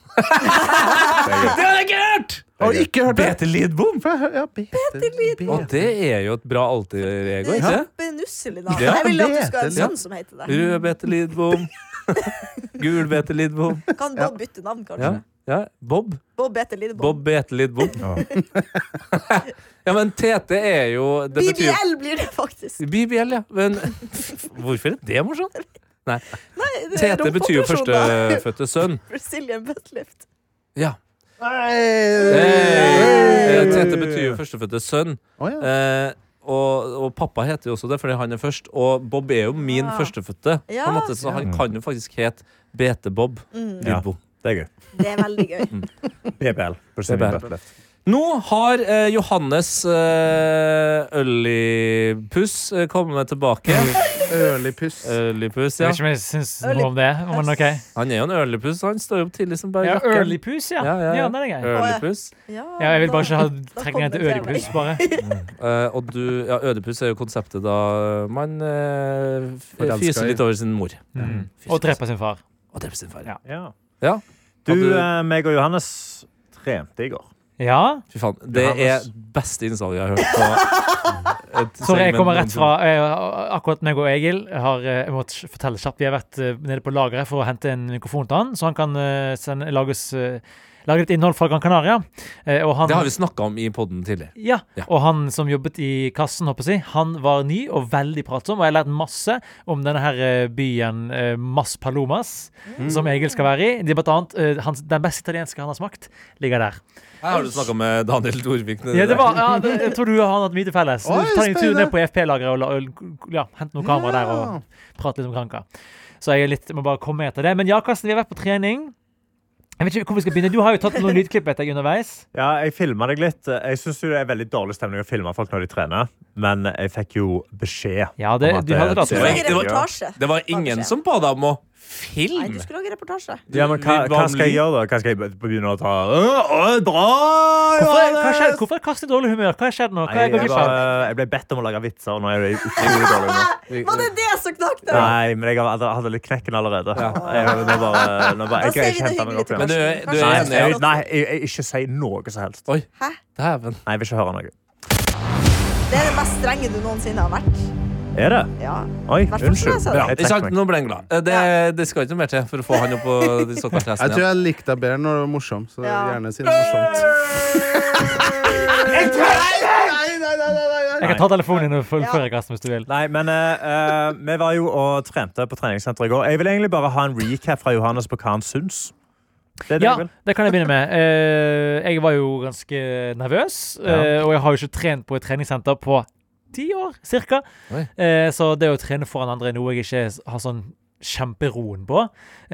B: Det har jeg ikke hørt!
I: Har du ikke hørt det?
B: Bete Lidbom!
I: For jeg hø- Ja, Bete, Lidbom.
B: Og det er jo et bra alter-ego,
D: Det er
B: ikke det?
D: kjempenusselig navn.
B: Ja,
D: Jeg ville at du
I: det
D: skulle ha en
I: heter-
D: sønn som heter det.
B: Rød Bete Lidbom. Gul Bete Lidbom.
D: Kan Bob bytte navn, kanskje?
B: Ja. Ja. Bob.
D: Bob heter Lidbom.
B: Bob Bete Lidbom. ja, men Tete er jo det betyr-
D: BBL blir det faktisk.
B: BBL, ja. Men hvorfor er det morsomt? Nei.
D: Det er
B: Tete betyr jo
D: rumpeoperasjon, da.
B: førstefødte sønn.
D: Brazilian butt lift.
B: Ja.
I: Hey!
B: Hey! Eh, Tete betyr jo førstefødte sønn.
I: Å, ja.
B: Eh, og, og pappa heter jo også det, fordi han er først. Og Bob er jo min
D: Ah.
B: førstefødte, på
D: Ja. Mm.
B: en måte, så han kan jo faktisk hete BT-Bob
C: Ja.
B: Lidbom.
C: Det er gøy.
D: Det er veldig gøy.
C: PBL.
B: PBL. Nå har eh, Johannes eh, Øllipus eh, kommet tilbake.
I: Ørlig puss.
B: Øllipus,
F: Jeg
B: ja.
F: vet ikke om jeg syns noe om det. Men ok
B: Han er jo en ørlepus. Han står jo opp tidlig som bare
F: ja,
B: rakkeren.
F: Ørlipus, ja.
B: Ja, ja, ja.
F: Ja, den er grei.
B: Ørlepus.
D: Ja,
F: Ja, jeg vil bare ikke ha
D: da
F: trekningen til
D: kommer det
F: Ørlipus, bare.
B: Eh, og du Ja, ødepus er jo konseptet da man eh, f-
I: Forelsker
B: fyser
I: i.
B: litt over sin mor.
F: Mm.
B: Fyser
F: Og drepe sin far.
B: Og dreper sin far.
F: Ja.
C: Ja.
B: Ja.
C: Du,
B: Hadde-
C: eh, meg og Johannes trente i går.
F: Ja.
B: Fy faen. Det er
C: Johannes.
B: beste innsalget jeg har hørt på et
F: Sorry, jeg
B: segment
F: kommer rett
B: noensinne.
F: fra eh, Akkurat meg og Egil har eh, jeg måtte sk- fortelle kjapt. Vi har vært eh, nede på lageret for å hente en mikrofon til han, så han kan eh, sende, lages, eh, lage litt innhold fra Gran Canaria. Eh, og han,
B: Det har vi snakka om i poden tidligere.
F: Ja.
B: Ja.
F: Og han som jobbet i kassen, håper jeg, å si, han var ny og veldig pratsom. Og jeg har lært masse om denne her eh, byen eh, Mas Palomas, som Egil skal være i. De, blant annet, eh, hans, den beste italienske han har smakt, ligger der.
B: Her har du snakka med Daniel Dorvik. nede
F: Ja, det
B: der.
F: var, ja, det, jeg tror du har hatt mye til felles. Ta
I: Oi,
F: en tur
I: spennende.
F: ned på FP-lageret og la, og- ja, hent noen kamera der
I: Ja.
F: og prate litt om kranka. Så jeg er litt, må bare komme etter det. Men ja, Karsten, vi har vært på trening. Jeg vet ikke hvor vi skal begynne. Du har jo tatt noen lydklipp etter deg underveis.
C: Ja, jeg filma deg litt. Jeg syns det er veldig dårlig stemning å filme folk når de trener, men jeg fikk jo beskjed.
F: Ja, det,
C: om at
F: du hørte det at
D: Du
F: du
D: skulle lage
B: Det var-
D: reportasje.
B: det var ingen som ba deg om å
D: Nei,
B: filme.
D: du skulle lage reportasje.
C: Ja, men hva,
B: Vi var
C: hva skal jeg
B: lyd.
C: gjøre, da? Hva skal jeg be- begynne å ta Øh, øh, Dra,
F: Hvorfor, hva
C: Johannes!
F: skjedde? Hvorfor er Karsten i dårlig humør? Hva har skjedd nå? Hva
C: Nei,
F: er
C: jeg,
F: gått glipp av?
C: var- jeg ble bedt om å lage vitser, og nå er jeg utrolig dårlig humør.
D: Var det det som knakk der?
C: Nei, men jeg hadde, hadde litt knekken allerede. Jeg, nå bare, nå bare,
D: Da
C: jeg,
D: sier
C: jeg,
D: vi det
C: henter meg
D: hyggelig
C: opp
D: til
C: igjen.
B: Men du-
D: Karsten.
B: du er
C: Nei,
D: Kanskje
B: enig,
D: det
C: jeg,
D: er
C: nei jeg, jeg, ikke si noe som helst.
B: Oi,
D: Hæ?
B: dæven.
C: Nei, jeg vil ikke høre noe.
D: Det er det mest strenge du noensinne har vært.
C: Er det?
D: Ja.
C: Oi,
D: Hvert fall så
C: unnskyld.
D: jeg sa det.
B: Bra.
C: Jeg
B: Ikke
C: trekker
B: sant?
C: meg.
B: Nå ble han glad. Eh, Det, det skal ikke noe mer til for å få han opp på de såkalte
I: Jeg
B: hestene.
I: tror jeg likte deg bedre når du var morsom, så
D: Ja.
I: gjerne si noe morsomt. Nei, nei, nei, nei, nei, nei.
F: Jeg kan ta telefonen din og fullføre, Karsten, hvis du vil.
C: Nei, men eh, eh, vi var jo og trente på treningssenteret i går. Jeg vil egentlig bare ha en recap fra Johannes på hva han syns. Det er det
F: Ja,
C: jeg vil.
F: det kan jeg begynne med. Eh, jeg var jo ganske nervøs, eh, og jeg har jo ikke trent på et treningssenter på ti år, cirka.
B: Oi.
F: Eh, så det å trene foran andre er noe jeg ikke har sånn kjemperoen på.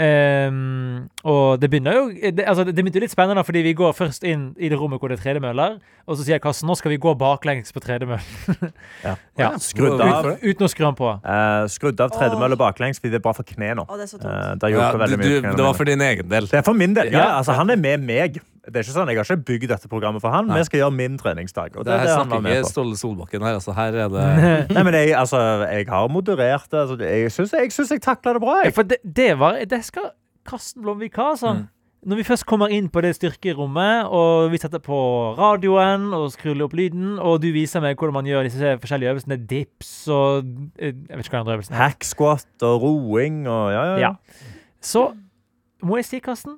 F: Ehm, og det begynner jo det, altså, det begynte jo litt spennende, fordi vi går først inn i det rommet hvor det er tredemøller, og så sier Karsten nå skal vi gå baklengs på tredemøllen.
C: Ja.
F: ja.
C: Skrudd av,
F: Ut, uten å skru den på.
C: eh, skrudd av tredemølle baklengs, fordi det er bra for knærne.
D: Å, det er så dumt.
C: Eh, det, har
B: Ja,
C: hjulpet
B: du,
C: veldig mye
B: du,
C: for knærne
B: det var
C: mine.
B: for din egen del.
C: det er for min del. Ja,
F: Ja.
C: altså, han er med meg. Det er ikke sånn, Jeg har ikke bygd dette programmet for han. Vi skal gjøre min treningsdag. Og det,
B: Det
C: er
B: her
C: det han var
B: snakker
C: med
B: ikke
C: på.
B: Ståle Solbakken her, altså. Her er det
C: Nei, men jeg, altså, jeg har moderert det. Altså, jeg syns jeg, synes jeg takla det bra.
F: Ja,
C: Jeg.
F: for det, det var Det skal Karsten Blomvik ha, altså. Når vi først kommer inn på det styrkerommet, og vi setter på radioen og skrur opp lyden, og du viser meg hvordan man gjør disse forskjellige øvelsene, dips og eh, Jeg vet ikke hva andre øvelsen er.
C: Hack squat og roing og ja, ja. ja.
F: Ja. Så må jeg si, Karsten,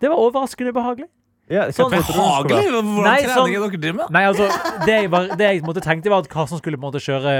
F: det var overraskende behagelig.
C: ja hva
F: Sånn-
C: trodde du det skulle være?
B: Behagelig! Hvordan
F: Nei,
B: trening er
F: sånn-
B: dere driver med?
F: Nei, altså, det jeg, var, det jeg på en måte tenkte, var at Karsten skulle på en måte kjøre,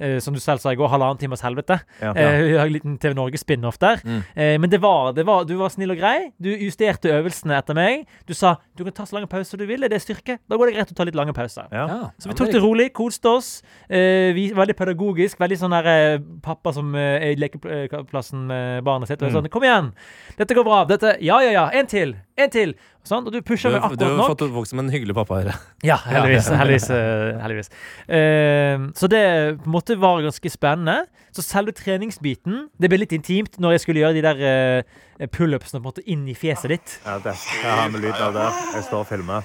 F: eh, som du selv sa i går, halvannen times helvete.
C: Ja.
F: Eh, vi har en liten TV Norge spin-off der.
B: Mm.
F: Eh, men det var, det var, du var snill og grei. Du justerte øvelsene etter meg. Du sa du kan ta så lange pauser du vil. Er det styrke? Da går det greit å ta litt lange pauser.
C: Ja.
F: Så vi tok det rolig, koste oss. Eh, vi, veldig pedagogisk. Veldig sånn der eh, pappa som eh, er i lekeplassen med barnet sitt.
C: Mm.
F: Og sånn, Kom igjen! Dette går bra. Dette, ja, ja, ja. En til! En til! Sånn, og du pusher
B: Du,
F: meg
B: du
F: akkurat
B: har
F: nok.
B: fått vokst som en hyggelig pappa her.
F: Ja, heldigvis. heldigvis, eh, heldigvis. Eh, så det på en måte var ganske spennende. Så selve treningsbiten Det ble litt intimt når jeg skulle gjøre de der eh, pullupsene på en måte inn i fjeset ditt.
C: Ja, det, jeg har med lyden av det. Jeg står og filmer.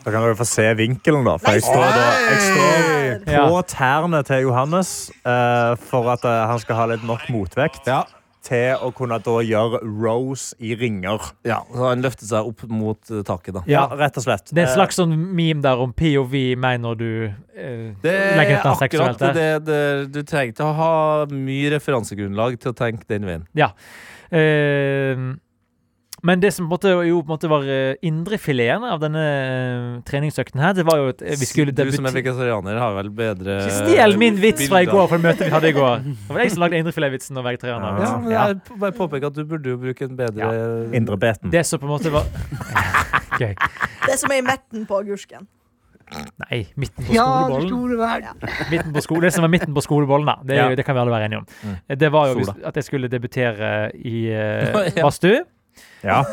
C: Da kan dere få se vinkelen, da. For jeg står, da, jeg står på
F: Ja.
C: tærne til Johannes eh, for at eh, han skal ha litt nok motvekt
E: Ja.
C: til å kunne da gjøre rows i ringer.
B: Ja, så han løftet seg opp mot eh, taket, da.
C: Ja, rett og slett.
F: Det er en
C: Eh,
F: slags sånn meme der om POV meg når du eh,
B: Det
F: legger
B: er
F: ut noe
B: akkurat
F: seksuelt der.
B: det, det Du trenger ikke å ha mye referansegrunnlag til å tenke den veien.
F: Eh, men det som på en måte, jo på en måte var eh, indrefileten av denne eh, treningsøkten her, det var jo at eh, vi skulle
B: du som er
F: debutere
B: vegetarianer, har vel bedre
F: Stjel min vits fra i
B: bilder.
F: går, fra møtet vi hadde i går. Det var jeg som lagde indrefiletvitsen om vegetarianer.
B: Ja, men
F: Ja.
B: jeg p- bare påpeke at du burde jo bruke en bedre
C: Eh, Indre beten.
F: Det som på en måte var Gøy.
D: Det som er i merten på agurken.
F: Nei, midten på skolebollen. Midten på skole, det som var midten på skolebollen, da. Det, er jo- det kan vi alle være enige om.
C: Mm.
F: Det var jo
B: Sola.
F: hvis- at jeg skulle debutere i eh,
B: Ja, ja.
F: badstue.
C: Ja.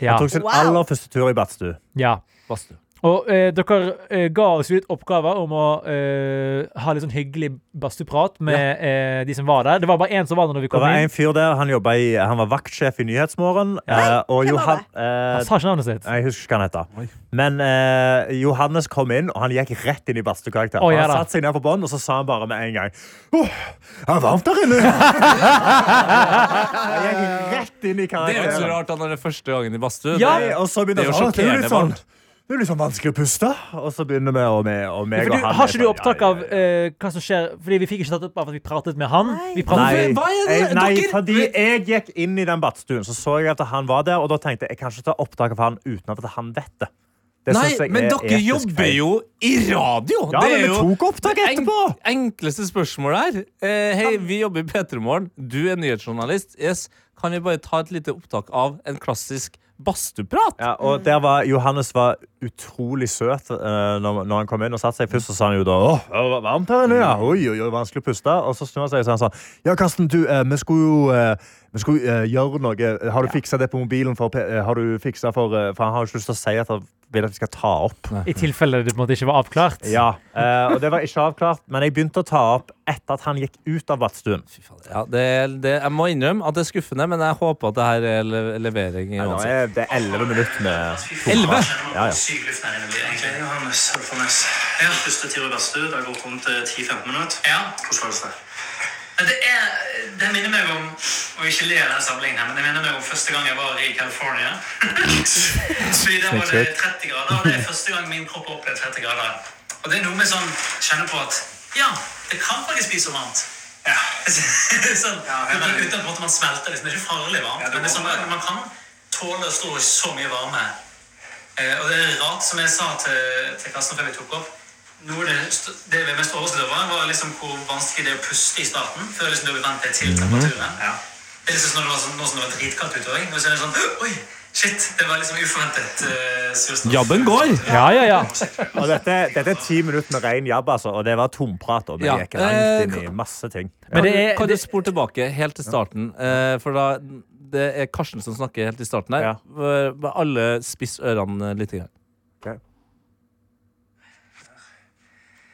F: Ja.
C: Han tok sin
D: Wow.
C: aller første tur i badstue.
F: ja.
B: badstue.
F: Og eh, dere eh, ga oss jo litt oppgaver om å eh, ha litt sånn hyggelig badstueprat med eh, de som var der. Det var bare én som var der når vi
C: Det
F: kom
C: var en
F: inn.
C: fyr der, han, jobbet i, han var vaktsjef i Nyhetsmorgen. eh, og
D: hvem var
C: Johan,
D: det?
F: Han
C: eh,
F: sa ikke navnet sitt.
C: Jeg husker ikke hva han heter. Men eh, Johannes kom inn, og han gikk rett inn i badstuekarakter.
F: Å, ja
C: han
F: da.
C: satte seg ned på bånd, og så sa han bare med en gang Åh, det er varmt der inne! han gikk rett inn i
B: Det er jo ikke så
C: karakteren.
B: rart da når det er første gangen i badstue.
F: Ja.
C: Nei, Og så
B: Det
C: begynner
B: er jo
C: han sånn, det er jo
B: sjokkerende
C: litt sånn
B: varmt.
C: det er litt sånn vanskelig å puste. Og så begynner vi, og vi og meg og
F: For du,
C: han
F: har ikke
C: er
F: du
C: sånn,
F: opptak
C: ja,
F: av
C: ja, ja.
F: eh, hva som skjer? Fordi vi fikk ikke tatt opp av at vi pratet med han.
D: Nei.
F: Vi pratet
C: Nei,
B: Hva er det?
C: jeg, nei,
B: Dere-
C: fordi jeg gikk inn i den badstuen, så så jeg at han var der, og da tenkte jeg jeg kan ikke ta opptak av han uten at han vet det. Det
B: Nei,
C: synes jeg
B: men
C: er
B: dere
C: etisk
B: jobber
C: feil.
B: jo i radio!
C: Ja,
B: det
C: men
B: er
C: vi
B: jo
C: tok opptak etterpå!
B: enkleste spørsmål her. Eh, hei, vi jobber i P3 Morgen. Du er nyhetsjournalist. Yes. Kan vi bare ta et lite opptak av en klassisk badstueprat?
C: Ja, og der var, Johannes var utrolig søt eh, når, når han kom inn og satte seg. Først så sa han jo da Åh, det var varmt her inne, ja. Oi, oi, oi, vanskelig å puste. Og så snur han seg og så han sa Ja, Karsten, du, eh, vi skulle jo eh, vi skulle eh, gjøre noe. Har du fiksa det på mobilen? For, P- eh, har du fiksa for eh, For han har jo ikke lyst til å si at han vil at vi skal ta opp.
F: I tilfelle det på en måte ikke var avklart.
C: Ja, eh, og det var ikke avklart, men jeg begynte å ta opp etter at han gikk ut av badstuen.
B: Fy faen, Ja, det, det, jeg må innrømme at det er skuffende, men jeg håper at det her er le levering.
C: Nå
B: uansett.
C: er det elleve minutter med
B: Elleve?
C: Ja, ja.
J: Syk luft her inne blir egentlig. Jeg har mest hold for mest. Ja. Første tur i badstue, det har gått rundt eh, 10-15 minutter. Ja. Hvordan føles det? Nei, Det, er, det minner meg om Og ikke le av den sammenligningen, her, men det minner meg om første gang jeg var i California. Fordi Der var det 30 grader, og det er første gang min kropp opplevde 30 grader. Og det er noe med sånn kjenne på at Ja, det kan faktisk bli så varmt. Ja. sånn, uten, uten at på en måte man smelter. Liksom. Det er ikke farlig varmt, men det er sånn, at man kan tåle å stå i så mye varme. Eh, og det er rart, som jeg sa til, til Karsten før vi tok opp noe av det, st- det jeg ble mest overrasket over, var liksom hvor vanskelig det er å puste i starten. Før Mhm. liksom du har blitt vant til temperaturen. Det er liksom sånn når det var, sånn, nå som det var dritkaldt ute òg. Nå så er det sånn Oi! Shit, det var liksom uforventet eh, surstoff.
C: Jabben går.
F: Ja, ja, ja.
C: Og dette, dette er ti minutter med ren jabb, altså, og det var tomprat. Og vi
B: Ja.
C: gikk langt
B: Eh,
C: inn i masse ting.
B: Men det
F: Ja.
B: er, kan du spore tilbake helt til starten? eh, For da det er Karsten som snakker helt i starten her.
C: Ja.
B: Eh, bare Alle spiss ørene litt. Grann.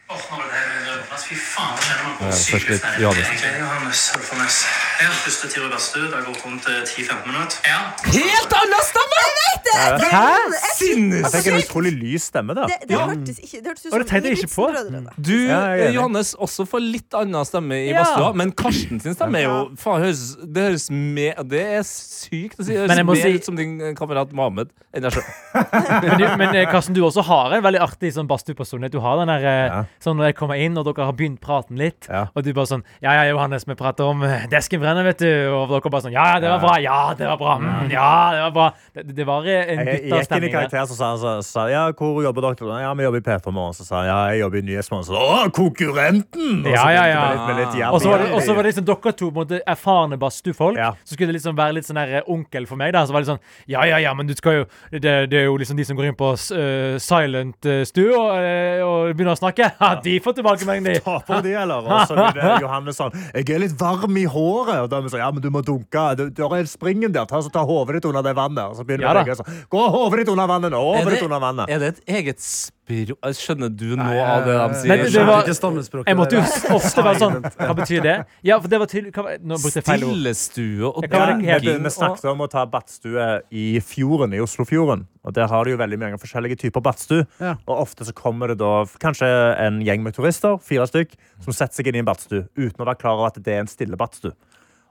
J: Åh, nå var det her med rødplass. altså, Fy faen, det kjenner man på
B: Ja,
J: sykehuset.
B: først litt
J: Nei,
B: Johannes.
J: Egentlig, jeg har mest hold for mest. Jeg har første tur i badstue. Det har gått rundt eh, 10-15 minutter. Ja.
B: Helt annen stemme!
C: Jeg fikk en utrolig lys stemme der.
D: Det, det hørtes ikke Det hørtes ut
F: Og det
D: som
F: tenkte jeg ikke på.
D: Ibsen-brødrene.
B: Du,
C: Ja, jeg er enig.
B: eh, Johannes, også får litt annen stemme i
F: Ja.
B: badstua, men Karsten sin stemme er jo faen, høres, Det høres med Det er sykt å si. Det
F: Men jeg
B: høres
F: må
B: mer
F: si-
B: ut som din kamerat Mohammed enn deg sjøl.
F: Men, du- men eh, Karsten, du også har en veldig artig sånn badstuepersonlighet. Du har den der eh,
C: Ja.
F: sånn når jeg kommer inn, og dere har begynt praten litt,
C: Ja.
F: og du bare sånn Ja, ja, Johannes, vi prater om eh, desken brenner, vet du. Og dere bare sånn Ja, det var bra. Ja, det var bra. Mm, ja, det var bra. Det, det var eh, en
C: Jeg jeg gikk inn i
F: guttastemning der.
C: karakter, så sa han så, sa, ja, hvor jobber dere? Ja, vi jobber i P3 Morgen. Så sa han ja, jeg jobber i Nyhetsmorgen. Så å, konkurrenten! Og så
F: Ja, ja,
C: begynte
F: ja.
C: vi litt med litt jabb
F: Og så var det,
C: igjen.
F: og så var det liksom dere to på en måte, erfarne badstuefolk.
C: Ja.
F: Så skulle det liksom være litt sånn her eh, onkel for meg. da Så var det sånn Ja, ja, ja, men du skal jo Det, det er jo liksom de som går inn på s- eh, silent eh, stue og, eh, og begynner å snakke. Ha, de får tilbakemelding, de.
C: Taper de, eller? Og så blir det Johannes sånn Jeg er litt varm i håret. Og da er vi sånn Ja, men du må dunke. Du, der er springen der. Ta, så ta hodet ditt under det vannet. Og så begynner
F: Ja
C: vi
F: da.
C: å tenke sånn Gå hodet ditt under vannet nå! Hodet ditt under vannet.
B: er det et eget språk Skjønner du nå av det de sier?
F: Men det var-
I: Ikke stammespråket
F: Jeg måtte
I: der,
F: jo
I: ja.
F: s- ofte være sånn Hva betyr det? Ja, for det var tydelig hva var- Nå brukte jeg feil ord.
B: Stillestue og
F: Jeg kan
B: dunking
F: ikke helt-
C: vi, vi snakket om å ta badstue i fjorden, i Oslofjorden. Og der har du jo veldig mange forskjellige typer badstue.
I: Ja.
C: Og ofte så kommer det da f- kanskje en gjeng med turister, fire stykk, som setter seg inn i en badstue uten å være klar over at det er en stille badstue.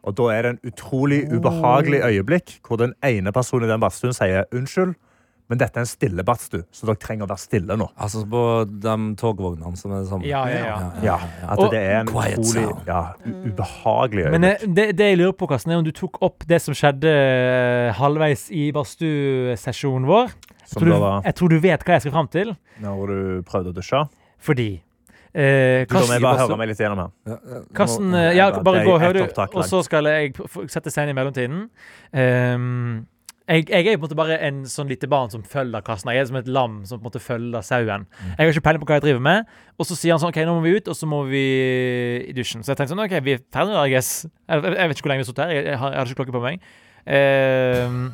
C: Og da er det en utrolig ubehagelig øyeblikk hvor den ene personen i den badstuen sier unnskyld, men dette er en stille badstue, så dere trenger å være stille nå.
B: Altså på de togvognene som er det samme.
F: Ja, ja, ja.
C: Ja, at
F: Og-
C: det er en
B: Quiet
C: utrolig
B: sound.
C: ja, u- ubehagelig øyeblikk.
F: Men eh, det, det jeg lurer på, Karsten, er om du tok opp det som skjedde eh, halvveis i badstuesesjonen vår. Jeg
C: Som
F: tror,
C: da
F: du,
C: var-
F: jeg tror du vet hva jeg skal fram til,
C: når du prøvde å dusje.
F: fordi eh,
C: Du, da må
F: Karsten,
C: jeg bare høre meg litt gjennom her.
F: Karsten
C: Nå-
F: eh, Ja,
C: Nei,
F: bare
C: det er
F: gå og
C: ett
F: hør, du.
C: opptak
F: Og
C: langt.
F: så skal jeg p- f- sette scenen i mellomtiden. Ehm, jeg, jeg er på en måte bare en sånn lite barn som følger Karsten. Jeg er som et lam som på en måte følger sauen.
C: Mm.
F: Jeg har ikke peiling på hva jeg driver med. Og så sier han sånn OK, nå må vi ut, og så må vi i dusjen. Så jeg tenkte sånn OK, vi er ferdige nå, I guess. Jeg, jeg, jeg vet ikke hvor lenge vi har sittet her. Jeg, jeg, har, jeg hadde ikke klokke på meg. Ehm,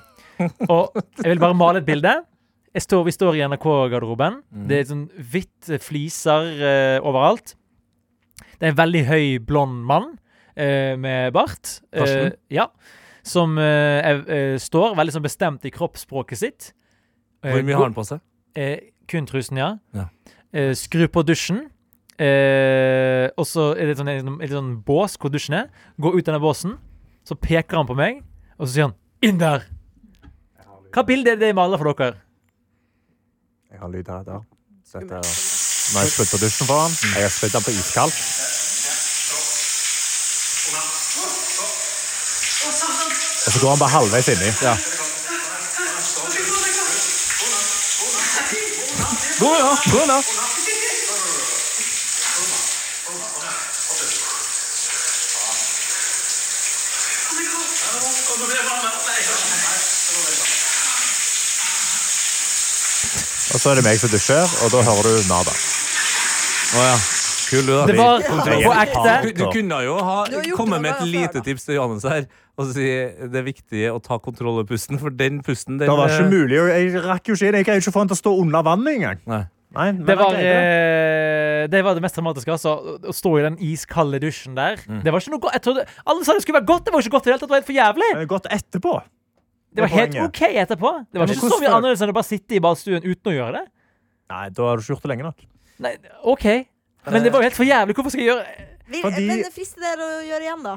F: og jeg vil bare male et bilde. Jeg står, vi står i NRK-garderoben.
C: Mm.
F: Det er sånn hvitt eh, fliser eh, overalt. Det er en veldig høy, blond mann eh, med bart. eh,
B: Karsten?
F: ja. Som eh, er- eh, står veldig sånn bestemt i kroppsspråket sitt. Eh,
B: Hvor mye
F: gå-
B: har han på seg?
F: Eh, kun trusen, ja.
B: Ja.
F: Eh, skru på dusjen. Eh, og så er det sånn, en, en sånn bås hvor dusjen er. Gå ut denne båsen. Så peker han på meg, og så sier han 'inn der'. Hva bilde er det jeg maler for dere?
C: Jeg har lyd her. Der. Dette er Nå har jeg spydd på dusjen for han. Jeg har spydd han på iskaldt. Og så går han bare halvveis inni.
B: Gå, ja! Gå, da!
C: Og så er det meg som dusjer, og da hører du Nada.
B: Kul, du, da.
F: Det var
C: Nei,
F: på ekte.
B: Du, du kunne jo
D: Du har
B: ha
D: gjort
B: kommet
D: det
B: med et
D: mange ganger før,
B: lite
D: da.
B: tips til Johannes her. Og si det er viktig å ta kontroll over pusten, for den pusten den,
C: Det var ikke
B: eh,
C: mulig. og Jeg rakk jo ikke inn. Jeg greide ikke å få han til å stå under vannet engang.
B: Nei.
C: Nei, men
F: Det
C: han
F: var,
C: greide det.
F: eh, det var det mest dramatiske, altså. å- Å stå i den iskalde dusjen der.
C: Mm.
F: Det var ikke noe godt. Jeg trodde, alle sa det skulle være godt. Det var jo ikke godt i det hele tatt. Det var helt for jævlig.
C: Det er Godt etterpå.
F: Det var
C: Det er
F: helt
C: poenget.
F: OK etterpå. Det var
C: men
F: ikke så mye
C: hvordan-
F: annerledes enn å bare sitte i badstuen uten å gjøre det.
C: Nei, da har du ikke gjort det lenge nok.
F: Nei, OK. Men det var jo helt for jævlig. Hvorfor skal jeg gjøre
D: Vil,
C: Fordi-
D: Men det frister dere å gjøre igjen, da?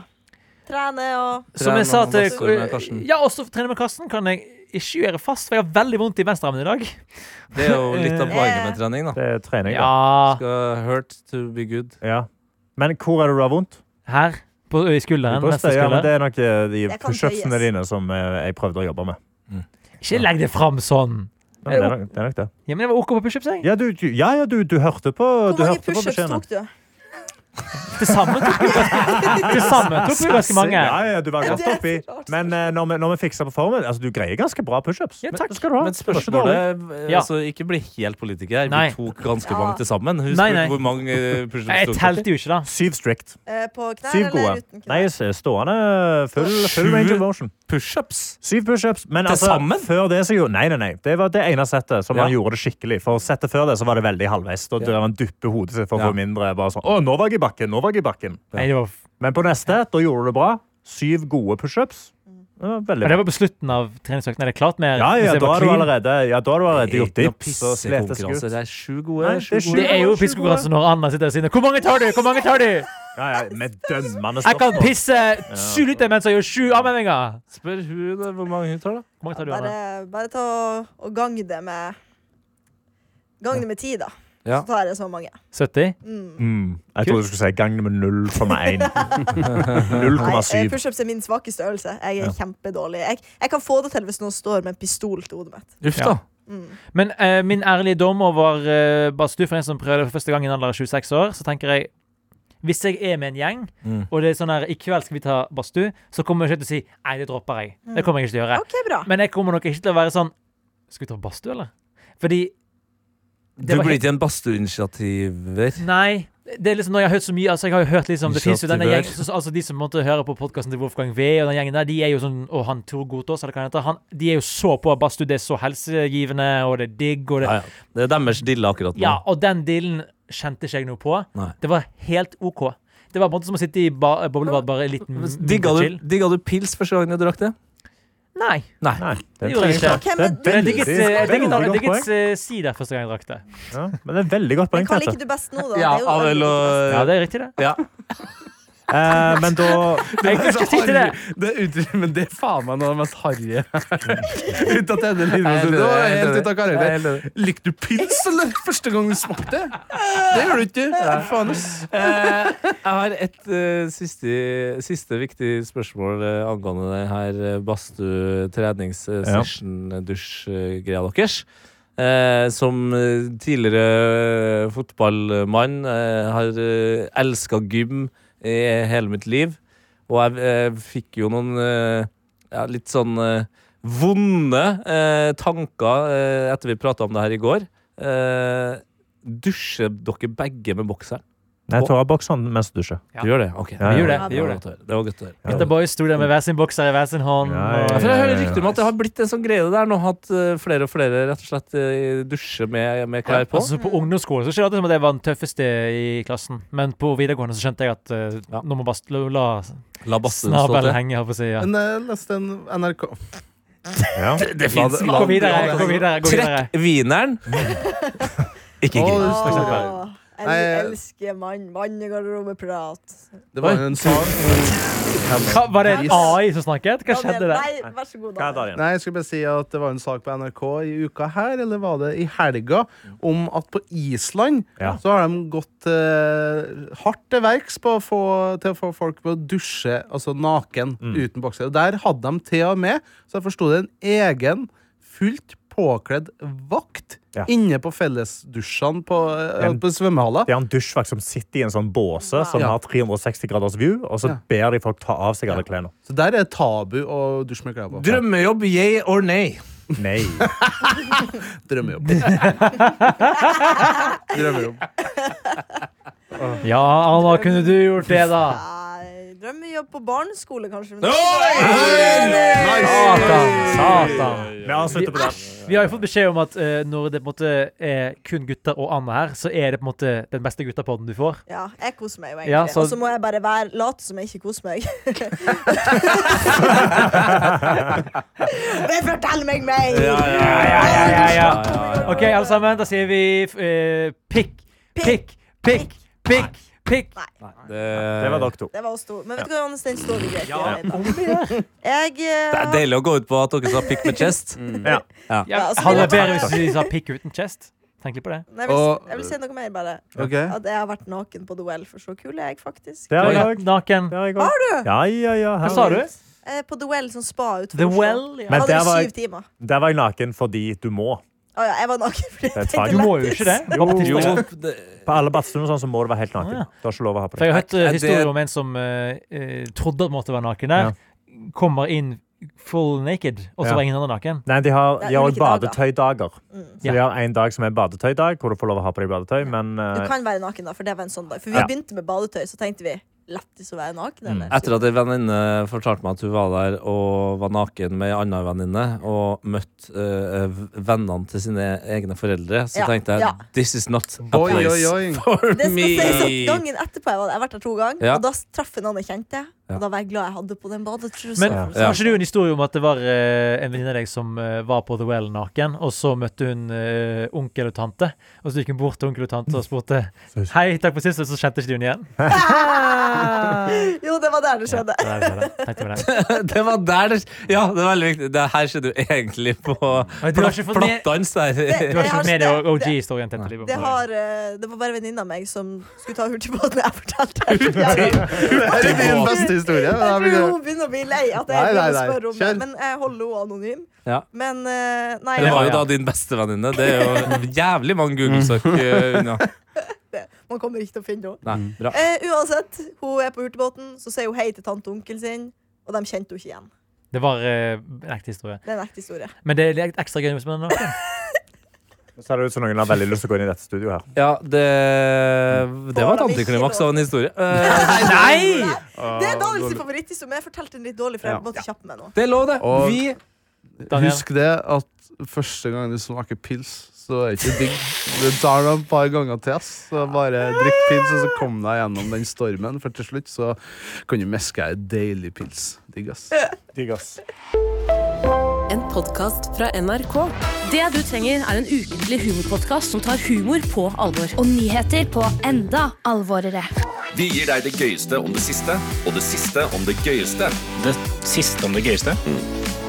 D: Trene og
F: Som jeg sa
B: Trener
F: til
B: masse med Karsten.
F: Ja, også trene med Karsten kan jeg ikke gjøre fast, for jeg har veldig vondt i venstrearmen i dag.
B: Det er jo litt av
D: Eh.
B: poenget med trening, da.
C: Det er trening. da.
F: Ja
B: Skal hurt to be good.
C: Ja. Men hvor er det du har vondt?
F: Her. På, I skulderen. Neste
C: Brystet? Ja, men
F: skulder.
C: det er nok eh, de
D: Det kan
C: pushupsene
D: tøyes.
C: dine som eh, jeg prøvde å jobbe med.
F: Ikke legg det fram sånn.
C: Ja, men det er nok det. Er nok det.
F: Ja, men det var OK på pushups, jeg.
C: Ja, du, du- ja, ja, du, du hørte på
D: Hvor
C: du
D: mange
C: hørte på
D: pushups
C: beskjeden.
D: tok du?
F: Det samme tok vi det samme tok vi ganske mange.
C: Ja, ja, du var
D: Ja,
C: godt
D: det er
C: oppi.
D: så rart.
C: Men eh, når vi, når vi fikser på formen altså, Du greier ganske bra pushups.
F: Ja,
C: Men-
F: takk.
C: skal du ha.
B: Men
C: Det var ikke dårlig.
B: spørsmålet
F: Ja.
B: altså, Ikke bli helt politiker. her.
F: Nei.
B: Vi tok ganske
D: Ja.
B: mange til sammen. Husk
F: Nei, nei.
B: hvor mange eh, pushups
F: Jeg
B: du tok.
F: telte jo ikke, da.
C: Syv strict.
D: Eh, På knær
C: Syv
D: eller
C: gode.
D: uten knær?
C: Nei, s- stående full, full range of motion.
B: Pushups?
C: Syv pushups. Men
B: Til
C: altså,
B: sammen?
C: før det så gjorde Nei, nei, nei. Det var det ene settet som
B: Ja.
C: han gjorde det skikkelig. For settet før det så var det veldig halvveis. Da ja. han dypper hodet sitt for å
B: Ja.
C: få mindre. Bare sånn, å, nå var jeg i bakken, nå var jeg i bakken.
F: Nei, det var,
C: Men på neste, da gjorde du det bra. Syv gode pushups. Det var
F: men
C: Veldig
F: det
C: bra.
F: var på slutten av treningsøkten. Er det klart mer?
C: Ja, ja,
F: hvis jeg
C: da
F: var
C: har du
F: clean?
C: allerede, ja, da har du allerede gjort
B: Ikke noe
C: dipp. Så sletes jeg
F: altså.
B: pissekonkurranse.
C: ut.
B: Det er sju gode.
C: Nei, det
B: sju
C: er sju.
B: gode.
F: Det er jo pissekonkurranse når Anna sitter ved siden av. Hvor mange tar du? Hvor mange tar du?
C: Ja, ja, med dømmende
F: Jeg kan
C: spørsmål.
F: pisse sju liter mens jeg gjør sju avmeldinger.
B: Spør hun eh, hvor mange hun tar, da.
F: Hvor mange tar du,
D: Bare,
F: Anna?
D: bare ta og, og gang det med Gang det med ti, da.
B: Ja.
D: Så tar jeg så mange.
F: 70?
D: Mm.
C: Mm. Jeg trodde du skulle si gang med 0,1. 0,7.
D: Nei, eh, Pushups er min svakeste øvelse. Jeg er kjempedårlig. Jeg, jeg kan få det til hvis noen står med en pistol til hodet mitt.
B: Uff,
F: Ja.
B: da.
D: Mm.
F: Men eh, min ærlige dom over eh, Bastu, for en som prøvde for første gang i en alder av 26 år, så tenker jeg hvis jeg er med en gjeng,
B: Mm.
F: og det er sånn her, i kveld skal vi ta badstue, så kommer jeg ikke til å si nei, det dropper jeg. Det kommer jeg ikke til å gjøre.
D: OK, bra.
F: Men jeg kommer nok ikke til å være sånn Skal vi ta badstue, eller? Fordi
B: Du
F: var
B: blir
F: helt-
B: ikke en badstueinitiativer.
F: Nei. Det er liksom, når Jeg har hørt så mye Altså jeg har jo hørt liksom Det finnes jo denne
B: Initiativer.
F: gjengen så- Altså De som måtte høre på podkasten til Wolfgang V, og den gjengen der, de er jo sånn Å, han Tor Gotaas, eller hva han heter. Han, de er jo så på badstue. Det er så helsegivende, og det er digg, og det
B: Ja, ja. Det er deres dille akkurat nå.
F: Ja, og den dealen kjente ikke jeg noe på.
B: Nei.
F: Det var helt OK. Det var på en måte som å sitte i ba boblebad, bare litt
I: Mm.
F: m-
B: Digga
F: mindre
B: du,
F: chill.
B: digga du pils første gangen du drakk det?
F: Nei.
B: Nei.
C: Nei,
F: Det gjorde jeg ikke.
C: Det
D: Ok, men,
C: er
F: Men jeg
C: veldig-
F: digget, eh, jeg digget, jeg
C: veldig godt
F: digget,
C: poeng.
F: eh, sider første gang jeg drakk det.
C: Ja, men det er et veldig godt poeng.
D: men hva
C: Tete.
D: liker du best nå, da?
B: Ja,
D: Det er jo
B: Adel
D: veldig godt.
F: Ja,
B: og
F: det er riktig, det.
B: ja.
C: Eh, men da
F: Jeg kan ikke si til det.
I: Det uttrykket, men det er faen meg noe av det mest harrige Ut av
B: Jeg
I: denne
B: er
I: linjen.
B: enig,
I: Det var
B: jeg er
I: helt
B: enig.
I: ut av karrieren. Likte du pils, eller? Første gang du smakte? Det gjør du ikke. Faen, ass.
B: Eh, jeg har et eh, siste, siste viktig spørsmål eh, angående det her eh, badstue trenings eh,
C: Ja.
B: session eh, dusj eh, greia deres. Eh, som eh, tidligere eh, fotballmann eh, har eh, elska gym i hele mitt liv. Og jeg eh, fikk jo noen eh, ja, litt sånn eh, vonde eh, tanker eh, etter vi prata om det her i går. Eh, dusjer dere begge med bokseren?
C: Nei, jeg tar av bokseren mens du dusjer.
F: Ja.
B: Du gjør det? Ok.
C: Ja,
F: Vi gjør det. Vi
B: Det
F: gjør
B: var
F: det.
B: godt å høre. Det var godt å høre.
F: Gutta boys sto der med hver sin bokser i hver sin hånd.
C: Ja, ja,
B: Ja,
F: og-
B: for jeg hører rykter om at det har blitt en sånn greie der nå, at eh, flere og flere rett og slett eh, dusjer med, med klær på.
F: Altså, på ungdomsskolen så skjønte jeg at jeg var den tøffeste i klassen, men på videregående så skjønte jeg at eh,
B: Ja.
F: nå må bare sl- la
B: La badstuen stå
F: snabelen
B: til.
F: henge. holdt på å si, ja.
I: Men jeg leste en NRK
C: Ja.
B: Det fins
F: Gå videre, gå videre. gå videre
B: Trekk wieneren. Ikke
I: Å,
B: grin.
I: for eksempel.
D: Åh, jeg
I: Nei, eh, jeg-
D: elsker mann. Mannegarderobeprat.
I: Det var jo en sak
F: Hva, Var det en AI som snakket? Hva skjedde der?
D: Nei, vær så god,
C: Hva er
D: Daniel.
C: det igjen?
I: Nei, jeg skulle bare si at det var en sak på NRK i uka her, eller var det i helga, om at på Island
C: Ja.
I: så har de gått eh, hardt til verks på å få, til å få folk på å dusje altså naken uten bokser. Og der hadde de til og med, så jeg forsto det, en egen fullt påkledd vakt
C: Ja.
I: inne på fellesdusjene på, eh,
C: En-
I: på svømmehaller.
C: Det er en dusjvakt som sitter i en sånn båse som
I: Ja.
C: har 360 graders view, og så
I: Ja.
C: ber de folk ta av seg alle klærne.
I: Så der er det tabu å dusje med klær på.
E: Drømmejobb, yay or nay?
C: Nei.
I: Drømmejobb. Drømmejobb.
F: Ja, Anna, kunne du gjort det, da?
D: Nei, drømmejobb på barneskole, kanskje. Men
F: Satan. Satan.
C: Vi avslutter på det.
F: Vi har jo fått beskjed om at eh, når det på en måte er kun gutter og Anna her, så er det på en måte den beste guttapodden du får.
D: Ja, jeg koser meg jo egentlig.
F: Ja, så-
D: Og så må jeg bare være, late som jeg ikke koser meg. Men fortell meg mer!
F: ja, ja. OK, altså- alle sammen, da sier vi eh, pikk, pikk, pikk, pikk, pikk. Eh,
C: Det var dere to.
D: Det var oss to. Men vet du hva, Johannes, den står vi greit i. Arvid, da. Jeg
B: Det er
D: eh,
B: deilig å gå ut på at dere sa pick med chest.
C: Ja.
D: Ja, altså, vi
F: Hadde vært
D: må ta-
F: bedre hvis vi sa pikk uten chest. Tenk litt på det.
D: Nei, jeg, vil,
I: Og-
D: jeg vil si noe mer, bare.
I: Ok.
D: At jeg har vært naken på Duell, for så kul er jeg faktisk.
C: Det har jeg òg.
F: Naken.
C: Har du? Ja, ja, ja.
F: Hva sa du?
D: Eh, På Duell, sånn spa utenfor
F: The
D: Oslo.
F: Well? Ja.
C: Men
D: Hadde
C: der
D: jeg
C: var jeg-
D: syv timer.
C: Der var jeg naken fordi du må.
D: Å ja, jeg var naken. fordi jeg
C: Det er
D: tenkte
C: tvang. Du
F: må jo ikke det.
D: lættis.
F: Hva på
C: Jo,
F: tirsdag?
C: På alle badstuene og sånn, så må du være helt
F: Å,
C: naken.
F: Ah, ja.
C: Du har ikke lov å ha på
F: For jeg
C: deg.
F: har hørt eh,
B: Er det-
F: historier om en som eh, eh, trodde at måtte være naken der.
C: Ja.
F: Kommer inn full naked, og så
C: Ja.
F: var ingen andre naken.
C: Nei, de har,
D: Det er
C: de har
D: ulike
C: også badetøydager. Så
D: Mm.
F: Ja.
C: de har en dag som er badetøydag, hvor du får lov å ha på deg badetøy, men
D: Du
C: eh,
D: kan være naken, da, for det var en sånn dag. For vi
C: Ja.
D: begynte med badetøy, så tenkte vi lættis å være naken. Eller?
B: Etter at ei venninne fortalte meg at hun var der og var naken med ei anna venninne, og møtte eh, v- vennene til sine egne foreldre, så
D: Ja,
B: tenkte jeg
D: ja.
B: this is not a
I: Oi,
B: place
I: oi, oi.
B: for
D: Det skal
B: me.
D: sies at Gangen etterpå jeg var der, jeg har vært der to ganger,
B: Ja.
D: og da traff jeg noen jeg kjente. Og da var jeg glad jeg hadde på den badetrusa.
F: Men
D: for å si
F: har
D: det sånn.
F: ikke du en historie om at det var eh, en venninne av deg som eh, var på The Well naken, og så møtte hun eh, onkel og tante, og så gikk hun bort til onkel og tante og spurte Hei, takk for sist, og så kjente ikke de henne igjen?
D: sånn. Jo, det var der det skjedde.
F: Det der, det der, tenkte jeg på det.
B: Det var der det Ja, det er veldig viktig. Det her skjedde jo egentlig på
F: Men du har ikke fått med-
B: plattdans der.
D: Det-
F: Du har
D: Jeg
F: ikke
D: har
F: fått med
D: ikke-
F: deg OG-historien til Liv?
D: Det, har, eh, det var bare en venninne av meg som skulle ta hurtigbåten. Jeg fortalte det. Jeg
I: Det er min beste historie. Da
D: tror
I: blir det-
D: hun begynner å bli lei at jeg
I: Nei, nei,
D: begynner å
I: nei.
D: spørre om det.
I: Kjør.
D: Men jeg holder henne anonym.
B: Ja.
D: Men eh, nei,
B: Det var jo da din bestevenninne. Det er jo jævlig mange Google-søk eh, unna.
D: man kommer ikke til å finne henne.
B: Nei, bra.
D: Eh, uansett, hun er på hurtigbåten, så sier hun hei til tante og onkelen sin. Og de kjente henne ikke igjen.
F: Det var eh, en ekte historie.
D: Det er en ekte historie.
F: Men det er litt ekstra gøy hvis man er naken.
C: så ser det ut som noen har veldig lyst til å gå inn i dette studioet her.
B: Ja, det Det var et antiklimaks av en historie. Eh,
F: Nei!
D: Det er Daniels favoritthistorie, men jeg fortalte den litt dårlig. For jeg måtte kjappe meg nå
B: Det er lov, det.
I: Og-
B: Vi
F: Daniel.
I: Husk det at første gang du smaker pils, så er det ikke digg. Det tar deg et par ganger til. ass. Så bare drikk pils, og så kom deg gjennom den stormen. For til slutt så kan du meske deg en deilig pils. Digg, ass.
C: Digg, ass.
K: En podkast fra NRK. Det du trenger, er en ukentlig humorpodkast som tar humor på alvor.
L: Og nyheter på enda alvorere.
A: Vi gir deg det gøyeste om det siste, og det siste om det gøyeste. Mm.
J: Det siste om det gøyeste.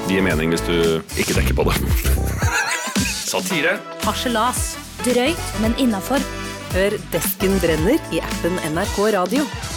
A: Det gir mening hvis du ikke tenker på det. Satire.
K: Harselas.
L: Drøyt, men innafor.
K: Hør Desken brenner i appen NRK Radio.